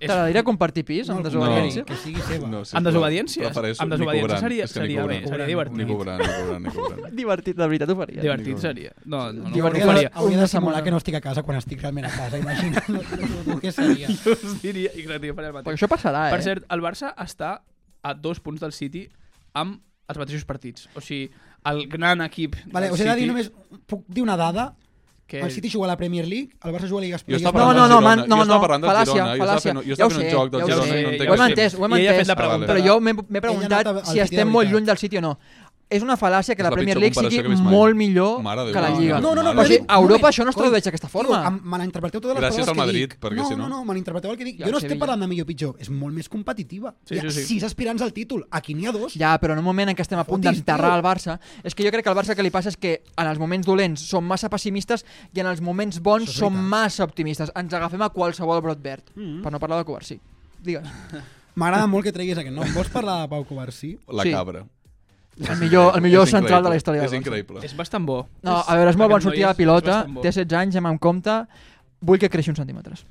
S8: És,
S2: T'agradaria compartir pis amb
S3: No,
S2: desobediència?
S1: no.
S3: Que sigui seva. No.
S1: sisplau,
S8: desobediències?
S1: prefereixo
S8: Amb
S1: Nico
S8: desobediències
S1: Brand.
S8: seria-
S1: És que Nico
S8: seria
S1: Brand.
S8: bé, seria divertit.
S1: Nico Brand, Nico Brand, Nico Brand.
S2: Divertit, de veritat, ho faria.
S8: divertit seria. No, no, no, no,
S2: Divertit.
S8: ho faria.
S3: Hauria
S2: Una
S3: de simular
S2: setmana.
S3: que no estic a casa quan estic realment a casa, imagina't. No, no, no, què seria?
S8: Jo us diria, i clar, tio, faré el
S2: Perquè
S8: mateix.
S2: això passarà, eh?
S8: Per cert, el Barça està a dos punts del City amb els mateixos partits. O sigui, el gran equip
S3: Vale,
S8: del
S3: us he de
S8: City...
S3: dir només... Puc dir una dada?
S8: Que...
S3: El City juga a la Premier League, el Barça juga a Liga
S1: Jo
S3: Espanyola.
S1: estava
S2: No,
S1: parlant
S2: no,
S1: del
S2: no,
S1: Girona.
S2: man, no,
S1: jo
S2: no,
S1: estava parlant del
S2: fallàcia,
S1: Girona. Jo
S2: fallàcia.
S1: estava fent, jo
S2: Ja
S1: estava
S2: ho
S1: fent
S2: sé,
S1: un joc del
S2: ja ho
S1: Girona
S2: sé.
S1: i no entenc
S8: ja
S2: Ho hem
S8: ho sé.
S2: entès, ho hem
S8: I ella ha
S2: entès.
S8: fet la pregunta.
S2: Però jo m'he m'he
S3: ha
S2: preguntat
S3: anat al
S2: si
S3: City de
S2: estem molt
S3: veritat.
S2: lluny del City o no. És una fal·làcia que
S1: És
S2: la
S1: la
S2: Premier
S1: pitjor
S2: League
S1: comparació
S2: sigui
S1: que he vist mai.
S2: molt millor
S1: Mare de
S2: que la
S1: Déu,
S2: Lliga.
S1: no, no, no,
S2: Però
S1: però
S2: sí,
S1: dic-
S2: a Europa això no
S3: Moment,
S2: es tradueix d'aquesta forma.
S3: Tio, em- me l'interpreteu totes les
S1: Gràcies
S3: coses
S1: al
S3: que
S1: Madrid,
S3: dic.
S1: perquè
S3: no,
S1: si no-
S3: No, no, me l'interpreteu el que dic.
S2: Ja
S3: jo no
S2: ho sé,
S3: estic
S2: Villa.
S3: parlant de millor o pitjor, és molt més competitiva.
S8: Sí,
S3: Hi ha
S8: sí, sí.
S3: sis aspirants al títol, aquí n'hi ha dos.
S2: Ja, però en un moment en què estem a punt
S3: Fotis,
S2: d'enterrar
S3: tio.
S2: el Barça, és que jo crec que el Barça el que li passa és que en els moments dolents som massa pessimistes i en els moments bons
S3: Això és
S2: som
S3: veritat. Mm.
S2: massa optimistes. Ens agafem a qualsevol brot verd, per no parlar de Covarsí. Digues,
S3: M'agrada molt que treguis aquest nom. Vols parlar de Pau Covarsí?
S1: La
S2: Sí.
S1: cabra.
S2: el millor, el millor
S1: És
S2: central de
S1: increïble.
S2: la història. del
S1: És
S2: Barça.
S1: increïble.
S8: És bastant bo.
S2: No, a veure, és
S8: Aquest
S2: molt bon
S8: noi
S2: sortir a la
S8: és-
S2: pilota,
S8: és bastant bo.
S2: té 16 anys, ja me'n compte, vull que creixi uns centímetres.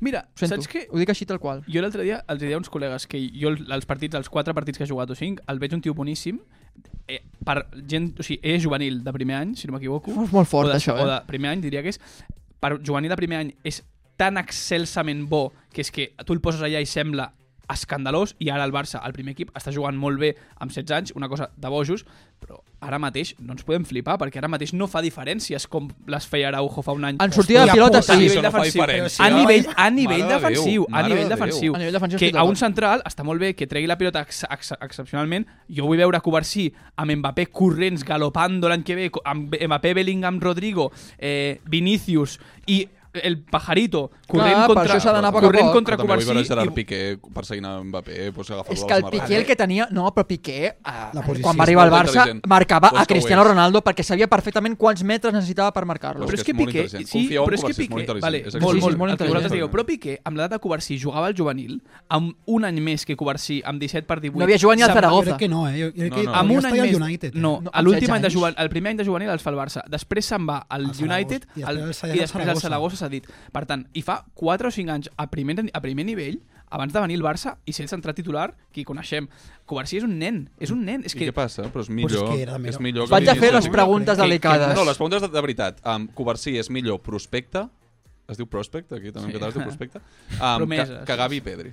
S8: Mira,
S2: Ho sento,
S8: saps què?
S2: ho dic així tal qual.
S8: Jo l'altre dia els deia a uns col·legues que jo el- els partits, els quatre partits que he jugat o cinc, el veig un tio boníssim, eh, per gent, o sigui, és juvenil de primer any, si no m'equivoco.
S2: És molt fort,
S8: o de,
S2: això, eh?
S8: O de primer any, diria que és. Per juvenil de primer any és tan excelsament bo que és que tu el poses allà i sembla escandalós i ara el Barça, el primer equip, està jugant molt bé amb 16 anys, una cosa de bojos, però ara mateix no ens podem flipar perquè ara mateix no fa diferències com les feia Araujo fa un any.
S2: En sortida de
S3: Hòstia
S2: pilota,
S3: puta,
S2: sí.
S1: això no fa
S8: defensiu.
S1: diferència.
S8: A nivell, a nivell
S1: Mare de Déu,
S8: defensiu. A
S1: mare de
S8: nivell
S1: Déu.
S8: defensiu.
S2: A nivell defensiu
S8: Que
S2: estic
S8: a un
S2: d'acord.
S8: central està molt bé que tregui la pilota ex ex excepcionalment. Jo vull veure Covarsí amb Mbappé corrents, galopando l'any que ve, co- amb B- Mbappé, Bellingham, Rodrigo, eh, Vinicius i el pajarito corrent
S2: Clar, per
S8: contra,
S2: això s'ha d'anar a poc a
S8: corrent
S2: poc.
S8: contra
S1: Però també vull veure Gerard
S8: Covarsí. i-
S1: Piqué perseguint a Mbappé, doncs agafar
S2: És que el Piqué el que tenia... No, però Piqué, eh,
S3: posició
S2: quan
S3: és
S2: va arribar al
S1: molt
S2: Barça,
S1: intel·ligent.
S2: marcava
S1: Però és
S2: a
S1: que ho
S2: Cristiano
S1: és.
S2: Ronaldo perquè sabia perfectament quants metres necessitava per marcar-lo.
S1: Però
S8: Però
S1: és que
S8: és que
S1: és molt
S8: Piqué...
S1: intel·ligent.
S8: Sí,
S1: Confieu en
S8: però és que
S1: Kovacic, és molt
S8: Piqué...
S1: intel·ligent.
S8: Vale,
S1: És
S8: molt,
S2: excel·lent.
S8: molt,
S2: Sí, molt
S8: el que vosaltres
S2: intel·ligent.
S8: digueu. Però Piqué, amb l'edat de Covarsí, jugava al juvenil, amb un any més que Covarsí, amb 17 per 18...
S2: No havia jugat ni al
S8: se'n va-
S2: Zaragoza.
S3: Jo crec que no, eh? Jo crec que
S1: No, no.
S8: amb
S3: podria
S8: un any
S3: estar
S8: més...
S3: al United. eh?
S8: No,
S2: No,
S8: a l'últim
S2: 16
S8: any de
S2: anys.
S8: juvenil, el primer any de juvenil el fa el Barça. Després se'n va al
S3: Al Saragossa.
S8: United
S3: I
S8: al,
S3: després al
S8: i després al
S3: Saragossa.
S8: Saragossa s'ha dit. Per tant, hi fa 4 o 5 anys a primer, a primer nivell abans de venir el Barça i ser el central titular que hi coneixem. Covarsí és un nen, és un nen. És
S1: I
S8: que
S1: què passa? Però és
S3: és
S1: millor.
S3: que era millor.
S1: és millor que
S2: Vaig a
S1: l'inici
S2: fer
S1: de
S2: les
S1: la
S2: preguntes
S8: que- que-
S2: delicades.
S1: No, les preguntes de, de veritat. Um, Covarsí és millor prospecte, es diu prospecte, aquí també
S8: Sí.
S1: en català es diu prospecte, um, que,
S8: Promeses.
S1: que Gavi i Pedri.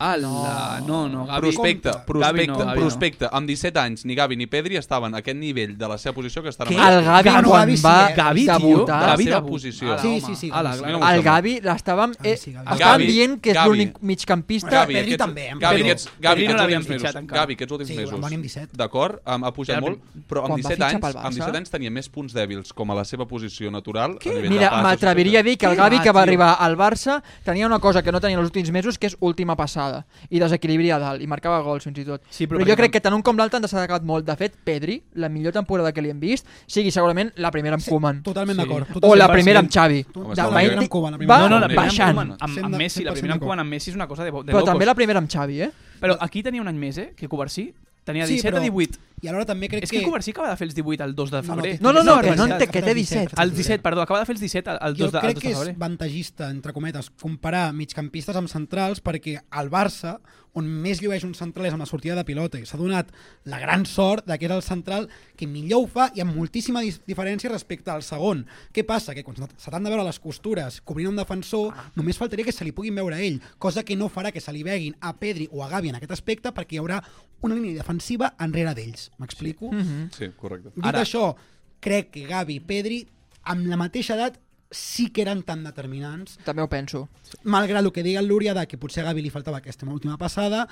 S8: Ala, no, no, Gavi...
S1: Prospecte,
S8: Gavi
S1: prospecte,
S8: no, Gavi no.
S1: prospecte. Amb 17 anys, ni Gavi ni Pedri estaven a aquest nivell de la seva posició que estan
S8: Què?
S1: ara
S2: El Gavi,
S3: Gavi,
S2: quan
S3: Gavi sí,
S2: va
S3: eh?
S8: Gavi, tio,
S2: debutar...
S1: Gavi
S8: Gavi
S1: de
S8: de
S1: posició.
S3: Sí, sí, sí,
S8: Ala,
S3: sí.
S8: clar.
S1: No,
S2: El
S1: sembla.
S2: Gavi l'estàvem...
S3: Gavi,
S2: Eh,
S3: Ah, sí, Gavi.
S2: estàvem
S1: Gavi,
S2: dient que és
S1: Gavi.
S2: l'únic migcampista...
S3: Gavi. Pedri
S1: aquests-
S3: també, en
S1: Gavi,
S3: Pedri.
S1: aquests, Gavi,
S8: Pedri no
S1: aquests
S8: l'havíem
S1: últims
S8: fitxat
S1: mesos.
S8: encara.
S1: Gavi, aquests últims
S3: Sí,
S1: mesos.
S3: van venir amb 17.
S1: D'acord, um, ha pujat
S8: Era
S1: molt, però
S2: Quan
S1: amb
S2: va
S1: 17,
S2: fitxar
S1: anys,
S2: pel
S1: amb
S2: Barça.
S1: 17 anys tenia més punts dèbils com a la seva posició natural. a nivell de
S2: Mira,
S1: passes,
S2: m'atreviria a dir que el
S8: Què
S2: Gavi
S8: va,
S2: que va
S8: tio?
S2: arribar al Barça tenia una cosa que no tenia en els últims mesos, que és última passada, i desequilibri a dalt, i marcava gols fins i tot.
S8: Sí, però
S2: però, jo
S8: perquè
S2: crec que tant un com l'altre han destacat molt. De fet, Pedri, la millor temporada que li hem vist, sigui segurament la primera amb Koeman.
S3: Totalment d'acord.
S2: O la
S3: Totalment.
S2: primera amb Xavi.
S3: Home,
S2: De
S1: està la
S2: Maite-
S1: primera amb
S3: Koeman, la
S2: va
S3: primera
S8: No, no, la primera
S2: baixant.
S8: amb, Koeman, amb, amb Messi, la primera amb Koeman amb Messi és una cosa de, bo- de
S2: Però també
S8: locos.
S2: la primera amb Xavi, eh?
S8: Però aquí tenia un any més, eh? Que Covarsí tenia
S3: Sí,
S8: 17
S3: però-
S8: o 18.
S3: I alhora també crec
S8: És que
S3: que...
S8: Covarsí acaba de fer els 18 al 2 de febrer.
S3: té-
S2: No, no, no,
S3: No,
S2: que no
S3: que
S2: en té, que té
S3: té 17,
S2: 17.
S8: Al 17, perdó, acaba de fer els 17 al- al 2
S3: Jo
S8: de, al
S3: crec
S8: 2
S3: que
S8: de
S3: és
S8: febrer.
S3: vantagista, entre cometes, comparar migcampistes amb centrals perquè al Barça, on més llueix un central és amb la sortida de pilota i s'ha donat la gran sort de que és el central que millor ho fa i amb moltíssima dis- diferència respecte al segon. Què passa? Que quan se se t'han de veure les costures cobrint un defensor,
S8: Ah.
S3: només faltaria que se li puguin veure a ell, cosa que no farà que se li veguin a Pedri o a Gavi en aquest aspecte perquè hi haurà una línia defensiva enrere d'ells. M'explico?
S8: Mhm.
S1: Sí, correcte.
S3: Dit
S8: Ara-
S3: Ara... això, crec que Gavi i Pedri, amb la mateixa edat, sí que eren tan determinants.
S2: També ho penso.
S3: Malgrat el que digui el Lúria de que potser a Gavi li faltava aquesta última passada,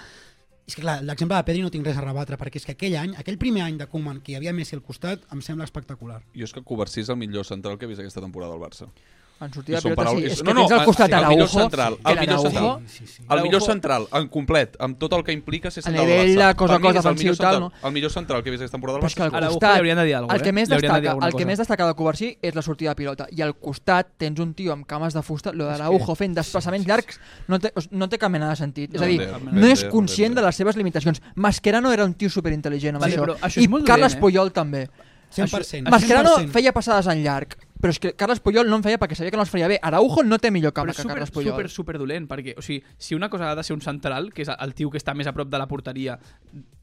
S3: és que clar, l'exemple de Pedri no tinc res a rebatre, perquè és que aquell any, aquell primer any de Koeman, que hi havia Messi al costat, em sembla espectacular.
S1: Jo és que Covarsí és el millor central que he vist aquesta temporada al Barça.
S2: En
S1: I
S2: sortida de
S1: són
S2: pilota, sí.
S1: paraules-
S2: És
S1: no,
S2: que
S1: no,
S2: tens al
S1: el-
S2: costat
S1: el
S2: Araujo,
S1: millor central,
S2: que
S1: el millor
S2: l'Araujo-
S1: central.
S3: Sí, sí.
S1: El
S8: Araujo-
S1: millor central, en complet, amb tot el que implica ser
S2: A
S1: central del
S2: nivell
S1: Barça.
S2: de cosa a
S1: Per mi
S2: cosa
S1: és el millor
S2: ofensiu, tal,
S1: central, el millor central que he vist aquesta temporada del
S2: Però és que
S1: Barça.
S2: al
S8: Araujo
S2: costat,
S8: li haurien de dir alguna cosa,
S2: el que
S8: eh?
S2: més
S8: Li haurien de dir
S2: destaca,
S8: alguna
S2: el que
S8: cosa.
S2: més destaca de Covarsí és la sortida de pilota i al costat tens un tio amb cames de fusta, lo de l'Araujo fent desplaçaments llargs no té, o sigui, no té cap mena de sentit. És
S1: No,
S2: a dir,
S1: té, té,
S2: no és
S1: té, té,
S2: conscient
S1: té.
S2: de les seves limitacions. Mascherano era un tio superintel·ligent amb
S8: Sí,
S2: això.
S8: però això és
S2: I
S8: molt dolent,
S2: Carles
S8: eh?
S2: Puyol també.
S3: 100%.
S2: Mascherano
S3: 100%.
S2: feia passades en llarg, però és que Carles Puyol no en feia perquè sabia que no els faria bé. Araujo no té millor
S8: Però
S2: cama
S8: és
S2: que
S8: super,
S2: Carles Puyol.
S8: super, super dolent, perquè o sigui, si una cosa ha de ser un central, que és el tio que està més a prop de la porteria,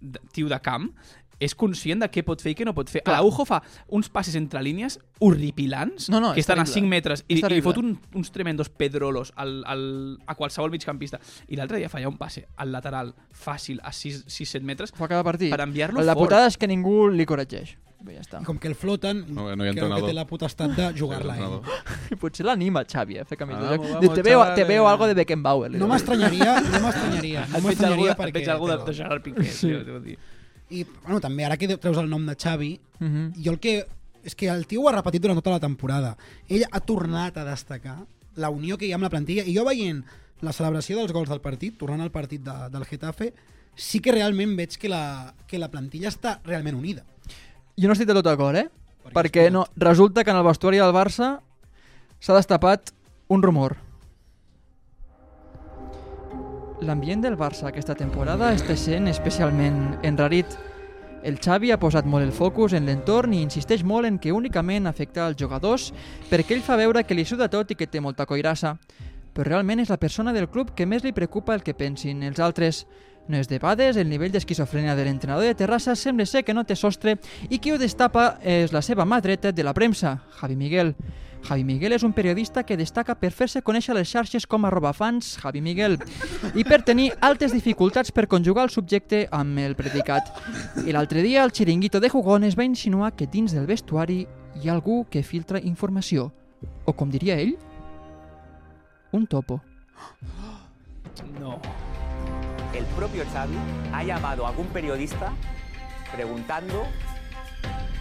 S8: d- tio de camp, és conscient de què pot fer i què no pot fer.
S2: Clar.
S8: Araujo fa uns passes entre línies horripilants,
S2: No, no,
S8: que
S2: és
S8: estan
S2: terrible.
S8: a 5 metres, i,
S2: És
S8: i
S2: terrible.
S8: li fot un, uns tremendos pedrolos al, al, a qualsevol migcampista. I l'altre dia falla un passe al lateral fàcil a 6-7 metres
S2: Fa cada partit.
S8: per enviar-lo
S2: La
S8: fort.
S2: putada és que ningú li corregeix. Bé, ja està.
S3: I com que el floten,
S1: No,
S3: no,
S1: no hi ha
S3: no creu que
S1: entrenador.
S3: té la potestat de jugar-la eh? ell.
S2: I potser l'anima Xavi eh, a fer camí de joc.
S8: Vamos,
S2: Diu,
S8: vamos,
S2: te, veo, te
S8: chavales.
S2: veo algo de Beckenbauer. li
S3: No
S2: diu.
S3: m'estranyaria, no m'estranyaria. No
S8: Et veig algú,
S3: m'estranyaria
S8: de- et
S3: perquè...
S8: veig algú de, de Gerard Piqué. Sí. dir.
S3: I, bueno, també, ara que treus el nom de Xavi,
S2: Mhm.
S3: jo el que... És que el tio ho ha repetit durant tota la temporada. Ell ha tornat a destacar la unió que hi ha amb la plantilla. I jo veient la celebració dels gols del partit, tornant al partit de, del Getafe, sí que realment veig que la, que la plantilla està realment unida.
S2: Jo no estic de tot d'acord, eh?
S3: Perquè
S2: Perquè
S3: escolta.
S2: no, resulta que en el vestuari del Barça s'ha destapat un rumor. L'ambient del Barça aquesta temporada està sent especialment enrarit. El Xavi ha posat molt el focus en l'entorn i insisteix molt en que únicament afecta als jugadors perquè ell fa veure que li suda tot i que té molta coirassa. Però realment és la persona del club que més li preocupa el que pensin els altres. No es debades, el nivell d'esquizofrènia de l'entrenador de Terrassa sembla ser que no té sostre i qui ho destapa és la seva mà dreta de la premsa, Javi Miguel. Javi Miguel és un periodista que destaca per fer-se conèixer a les xarxes com a robafans Javi Miguel i per tenir altes dificultats per conjugar el subjecte amb el predicat. I l'altre dia el xiringuito de Jugones va insinuar que dins del vestuari hi ha algú que filtra informació, o com diria ell, un topo.
S8: No.
S10: el propio Xavi ha llamado a algún periodista preguntando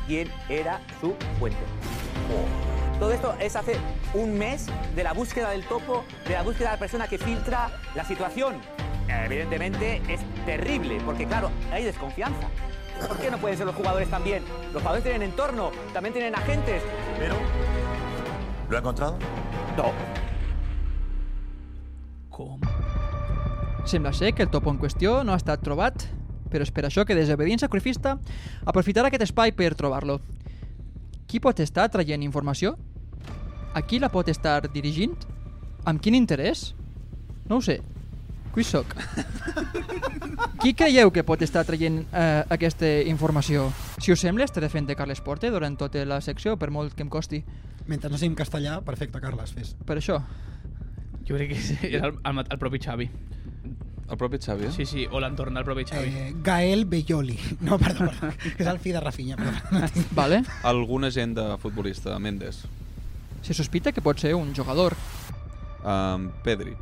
S10: quién era su fuente. Oh. Todo esto es hace un mes de la búsqueda del topo, de la búsqueda de la persona que filtra la situación. Evidentemente es terrible, porque claro, hay desconfianza. ¿Por qué no pueden ser los jugadores también? Los jugadores tienen entorno, también tienen agentes.
S4: Pero. ¿Lo ha encontrado?
S10: No,
S8: Com?
S2: Sembla ser que el topo en qüestió no ha estat trobat, però és per això que Desobediència Sacrifista aprofitarà aquest espai per trobar-lo. Qui pot estar traient informació? A qui la pot estar dirigint? Amb quin interès? No ho sé. Qui sóc? Qui creieu que pot estar traient eh, aquesta informació? Si us sembla, estaré fent de Carles Porte durant tota la secció, per molt que em costi.
S3: Mentre no siguin castellà, perfecte, Carles, fes.
S2: Per això.
S8: Jo crec que és, era el, el, el propi Xavi.
S1: El propi Xavi, eh?
S8: Sí, sí, o l'entorn del propi Xavi.
S3: Eh, Gael Belloli. No, perdó, perdó. que és el fill de Rafinha. Perdó.
S2: Vale?
S1: Alguna gent de futbolista, Mendes.
S2: Se sospita que pot ser un jugador.
S1: Um, Pedri,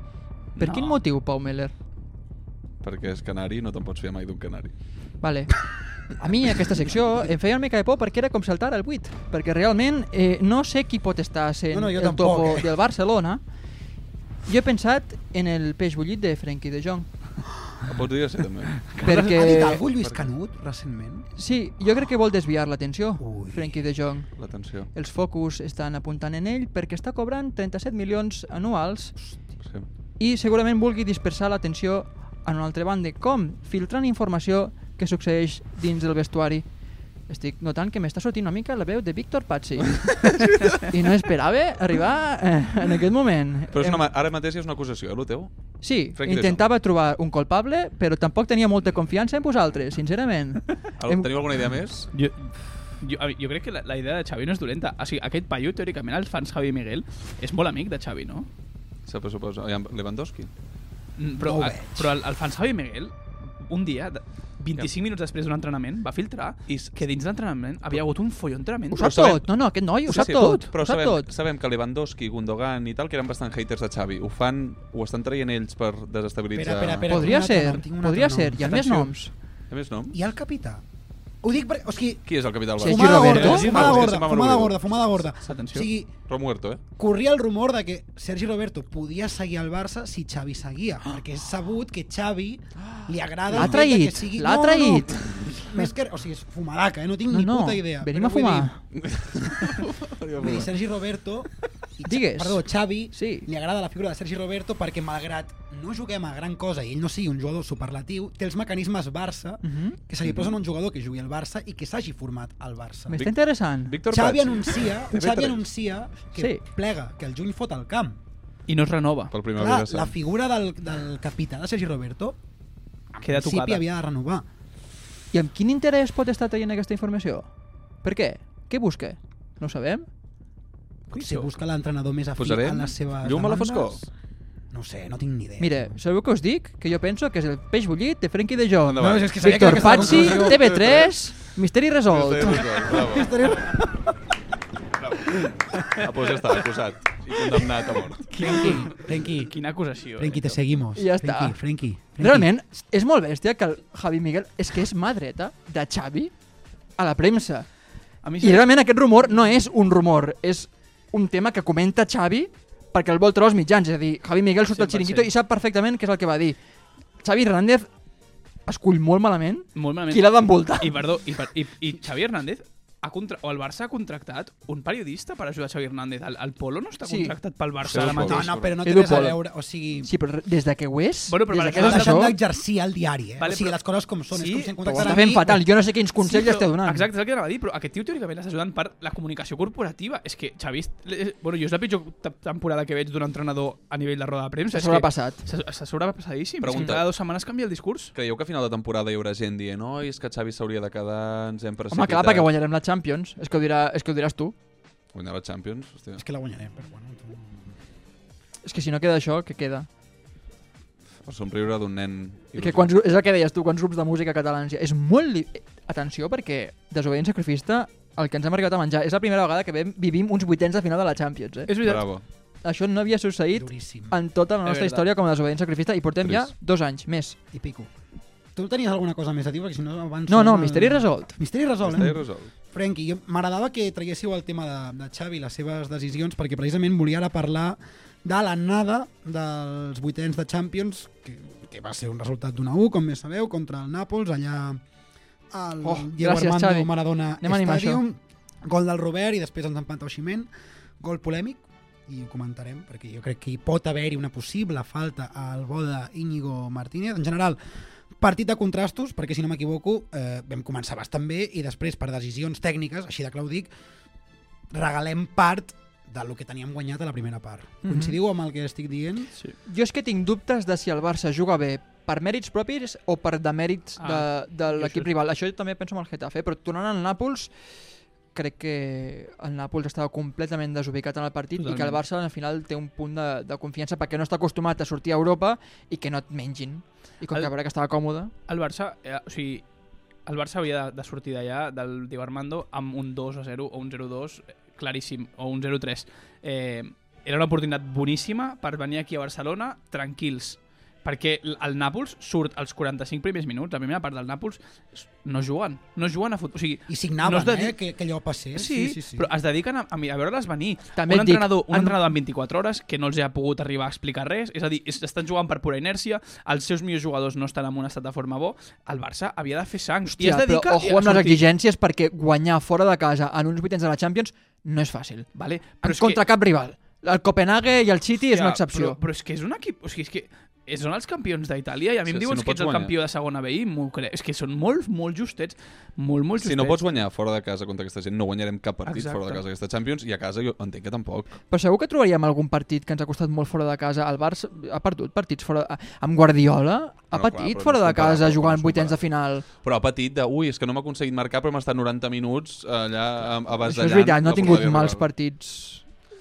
S2: Per
S8: No.
S2: quin motiu, Pau Meller?
S1: perquè és canari i no te'n pots fiar mai d'un canari.
S2: Vale. A mi aquesta secció em feia una mica de por perquè era com saltar al buit, perquè realment eh, no sé qui pot estar sent
S3: No, no, jo
S2: el
S3: tampoc,
S2: topo
S3: eh.
S2: del Barcelona. Jo he pensat en el peix bullit de Frenkie de Jong,
S1: Podria ser també.
S3: Ah,
S2: perquè...
S3: Ha dit algú Lluís Canut, recentment?
S2: Sí, jo crec que vol desviar l'atenció,
S3: Ui.
S2: Frenkie de Jong.
S1: L'atenció.
S2: Els focus estan apuntant en ell perquè està cobrant 37 milions anuals
S1: Sí.
S2: i segurament vulgui dispersar l'atenció en una altra banda, com filtrant informació que succeeix dins del vestuari. Estic notant que m'està sortint una mica la veu de Víctor Patsi. I no esperava arribar eh, en aquest moment.
S1: Però és
S2: Em-
S1: una, ma- ara mateix és una acusació, eh, lo teu?
S2: Sí,
S1: Frankie
S2: intentava trobar un culpable, però tampoc tenia molta confiança en vosaltres, sincerament.
S1: Ara,
S2: Em-
S1: Teniu alguna idea més?
S8: Jo, jo, a mi- jo crec que la, la idea de Xavi no és dolenta. O sigui, aquest paio, teòricament, els fans Javi Miguel, és molt amic de Xavi, no?
S1: Se pressuposa. Aviam, Lewandowski.
S8: Mm, Però,
S1: No ho
S8: a-
S1: veig.
S8: però el, el fans Javi Miguel, un dia, de- 25 minuts després d'un entrenament, va filtrar que dins l'entrenament havia hagut un follon tremendo.
S1: Però sabem-
S8: Però
S1: Però
S8: sap
S1: sabem,
S8: tot.
S1: sabem que Lewandowski, Gundogan i tal, que eren bastant haters de Xavi, ho fan, ho estan traient ells per desestabilitzar...
S2: Espera, espera, espera, Podria tinc un altre ser, nom, tinc un podria altre nom. ser. Hi ha més
S1: Atenció.
S2: noms.
S1: Hi ha més noms?
S3: I el capità? Ho dic perquè... O sigui,
S1: Qui és el capità del Barça?
S3: Fumada gorda, fumada gorda, fumada gorda, fumada gorda. O
S1: Atenció.
S3: sigui,
S1: Però muerto, eh?
S3: corria el rumor de que Sergi Roberto podia seguir al Barça si Xavi seguia, perquè és sabut que Xavi li agrada... el
S2: L'ha
S3: fet de
S2: traït,
S3: que sigui-
S2: l'ha
S3: No, no,
S2: traït.
S3: no. Més que... O sigui, és fumadaca, eh? no tinc
S2: No,
S3: ni
S2: no,
S3: puta idea.
S2: venim
S3: però
S2: a fumar.
S3: vull dir- Vull dir, Sergi Roberto... I,
S2: Digues.
S3: Perdó, Xavi, sí. li agrada la figura de Sergi Roberto perquè malgrat no juguem a gran cosa i ell no sigui un jugador superlatiu, té els mecanismes Barça
S2: Mhm.
S3: que se li posen a un jugador que jugui al Barça i que s'hagi format al Barça.
S2: M'està interessant. Víctor
S3: Xavi
S2: Patxi.
S3: anuncia,
S2: TV3.
S3: Xavi anuncia que
S2: Sí.
S3: plega, que el juny fot al camp.
S8: I no es renova.
S1: Pel
S3: Clar, la figura del, del capità de Sergi Roberto
S8: Queda
S3: en principi
S8: tocada.
S3: havia de renovar.
S2: I amb quin interès pot estar traient aquesta informació? Per què? Què busca? No ho sabem?
S3: Potser busca l'entrenador més afí
S2: Posarem
S3: a les seves
S2: llum a la
S3: demandes.
S2: foscor?
S3: No ho sé, no tinc ni idea.
S2: Mira, sabeu què us dic? Que jo penso que és el peix bullit de Frenkie de Jong.
S3: Endavant. No, és que sabia que
S2: Víctor
S3: aquesta
S2: Patxi,
S3: conclusió-
S2: TV3, Misteri Resolt.
S1: Misteri resolt, bravo. Misteri Ah, doncs ja està, acusat i condemnat a mort.
S3: Frenkie.
S8: Quina acusació. eh?
S3: Frenkie, te seguimos.
S2: I ja està.
S3: Frenkie, Frenkie, Frenkie.
S2: Realment, és molt bèstia que el Javi Miguel és que és mà dreta de Xavi a la premsa.
S8: A mi
S2: I realment aquest rumor no és un rumor, és un tema que comenta Xavi perquè el vol treure als mitjans. És a dir, Javi Miguel surt al
S8: 100%.
S2: xiringuito i sap perfectament què és el que va dir. Xavi Hernández escull molt malament,
S8: Molt malament.
S2: qui l'ha d'envoltar.
S8: I, perdó, i, per- i, i Xavi Hernández ha contra... o el Barça ha contractat un periodista per ajudar Xavi Hernández. El, el Polo no està
S2: Sí.
S8: contractat pel Barça
S2: Edu
S8: ara mateix.
S2: Polo.
S3: No, no, però no té
S2: Edu
S3: res a
S2: Polo.
S3: veure, o sigui...
S2: Sí, però des de que ho és,
S8: Bueno, però
S2: des de
S8: per
S2: que
S8: exemple,
S2: és
S3: S'han
S2: això...
S3: d'exercir al diari, eh?
S8: Vale,
S3: o sigui,
S8: però-
S3: les coses com són,
S8: Sí,
S3: és com si em
S8: però
S3: contacten
S2: està
S3: a
S2: fent
S3: mi,
S2: fatal, jo no sé quins consells
S8: però-
S2: està donant.
S8: Exacte, és el que anava a dir, però aquest tio teòricament l'està ajudant per la comunicació corporativa. És que Xavi... est- eh, Bueno, jo és la pitjor te- temporada que veig d'un entrenador a nivell de roda de premsa.
S2: S'ha
S8: És que
S2: sobrepassat.
S8: s'ha- S'ha sobrepassadíssim. Pregunta.
S1: Pregunta.
S8: Cada dues setmanes canvia el discurs.
S1: Creieu que a final de temporada hi haurà gent dient oi, és que Xavi s'hauria de quedar, ens hem precipitat...
S2: Home, clar, perquè guanyarem la Champions. És que ho, dirà, és que ho diràs tu.
S1: Guanyar la Champions, hòstia.
S3: És que la guanyarem, però bueno.
S2: És que si no queda això, què queda?
S1: Per somriure d'un nen...
S2: Que quants, gru- és el que deies tu, quants grups de música catalans hi ha? És molt... Li... Atenció, perquè desobediència sacrifista el que ens hem arribat a menjar és la primera vegada que vam, vivim uns vuitens de final de la Champions. Eh?
S8: És veritat. Bravo.
S2: Això no havia succeït
S3: Duríssim.
S2: en tota la
S3: És
S2: nostra
S3: veritat.
S2: història com a desobediència sacrifista i portem
S3: Trist.
S2: ja dos anys més.
S3: I pico. Tu tenies alguna cosa més a dir? Perquè si no abans...
S2: No, no,
S3: sona-
S2: misteri resolt.
S3: Misteri resolt,
S1: Misteri
S3: eh?
S1: resolt.
S3: Frenkie, jo- m'agradava que traguéssiu el tema de, de Xavi i les seves decisions perquè precisament volia ara parlar de l'anada dels vuitens de Champions que, que va ser un resultat d'una 1, com bé sabeu, contra el Nàpols, allà al
S2: Oh,
S3: Diego
S2: gràcies,
S3: Armando
S2: Xavi.
S3: Maradona
S2: Anem a animar
S3: Stadium. Gol del Robert i després ens empanta Oximent. Gol polèmic, i ho comentarem, perquè jo crec que hi pot haver-hi una possible falta al bo d'Iñigo Martínez. En general, partit de contrastos, perquè si no m'equivoco, eh, vam començar bastant bé i després, per decisions tècniques, així de clar ho dic, regalem part del que teníem guanyat a la primera part.
S2: Mhm.
S3: Coincidiu amb el que estic dient?
S8: Sí.
S2: Jo és que tinc dubtes de si el Barça juga bé per mèrits propis o per demèrits de,
S8: Ah,
S2: de
S8: jo
S2: l'equip
S8: això-
S2: rival. Això jo també penso amb el Getafe, però tornant al Nàpols, crec que el Nàpols estava completament desubicat en el partit i que el
S8: Totalment.
S2: Barça al final té un punt de, de confiança perquè no està acostumat a sortir a Europa i que no et mengin. I com
S8: El-
S2: que veurà que estava còmode...
S8: El Barça, eh, o sigui, el Barça havia de, de sortir d'allà del Diego Armando amb un 2 a 0 o un 0 2 claríssim, o un 0 3. Eh, era una oportunitat boníssima per venir aquí a Barcelona tranquils perquè l- el Nàpols surt als 45 primers minuts, la primera part del Nàpols s- no juguen, no juguen a futbol. O sigui,
S3: I signaven,
S8: no es
S3: eh, que, que allò passés.
S8: Sí, sí, sí, sí, però es dediquen a, a mi- a veure-les venir.
S2: També
S8: un
S2: et dic,
S8: entrenador, un
S2: en-
S8: entrenador en 24 hores que no els ha pogut arribar a explicar res, és a dir, es- estan jugant per pura inèrcia, els seus millors jugadors no estan en un estat de forma bo, el Barça havia de fer sang. I
S2: Hòstia,
S8: es dedica
S2: però ojo
S8: a
S2: amb les
S8: sortir.
S2: exigències perquè guanyar fora de casa en uns vuitens de la Champions no és fàcil.
S8: Vale,
S2: en contra cap rival. El Copenhague i el City és
S8: Hòstia,
S2: una excepció.
S8: Però, però és que és un equip... O sigui, és que eh, són els campions d'Itàlia i a mi
S1: Si-
S8: em
S1: si
S8: diuen
S1: no
S8: que
S1: pots
S8: ets el
S1: guanyar.
S8: campió de segona B i m'ho crec. És que són molt, molt justets. Molt, molt justets.
S1: Si no pots guanyar fora de casa contra aquesta gent, no guanyarem cap partit
S8: Exacte.
S1: fora de casa aquesta Champions i a casa jo entenc que tampoc.
S2: Però segur que trobaríem algun partit que ens ha costat molt fora de casa. El Barça ha perdut partits fora... eh, Amb Guardiola ha
S1: No, clar,
S2: patit
S1: però
S2: fora
S1: no
S2: de
S1: és comparable,
S2: casa
S1: no
S2: jugant
S1: és
S2: vuitens de final.
S1: Però ha patit de, ui, és que no m'ha aconseguit marcar però m'ha estat 90 minuts eh, allà a-
S2: Això
S1: avasallant.
S2: és veritat, no
S1: la
S2: ha tingut
S1: porteria
S2: mals
S1: rival.
S2: partits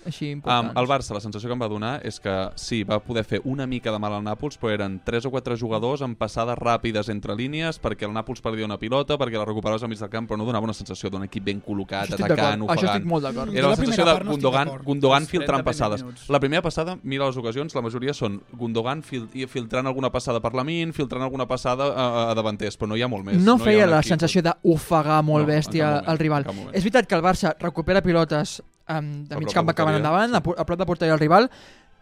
S2: així
S1: Um,
S2: importants.
S1: el Barça, la sensació que em va donar és que sí, va poder fer una mica de mal al Nàpols, però eren 3 o 4 jugadors amb passades ràpides entre línies, perquè el Nàpols perdia una pilota, perquè la recuperaves al mig del camp, però no donava una sensació d'un equip ben col·locat,
S2: Això estic
S1: atacant,
S2: d'acord,
S1: ofegant.
S2: això estic molt d'acord. Jo
S1: Era
S2: la
S1: la sensació
S2: primera
S1: de
S2: part no estic
S1: Gundogan,
S2: d'acord.
S1: Gundogan
S2: Els 30
S1: filtrant
S2: primers
S1: passades.
S2: minuts.
S1: La primera passada, mira les ocasions, la majoria són Gundogan fil i filtrant alguna passada per la min, filtrant alguna passada a, a davanters, però no hi ha molt més.
S2: no,
S1: hi ha
S2: feia
S1: un
S2: la
S1: equip.
S2: sensació d'ofegar molt
S1: No, en
S2: bèstia
S1: cap moment,
S2: al rival.
S1: en cap moment.
S2: És veritat que el Barça recupera pilotes um, de
S1: prop
S2: mig
S1: de
S2: camp acabant
S1: porteria,
S2: endavant, a pu- a prop de porteria al rival,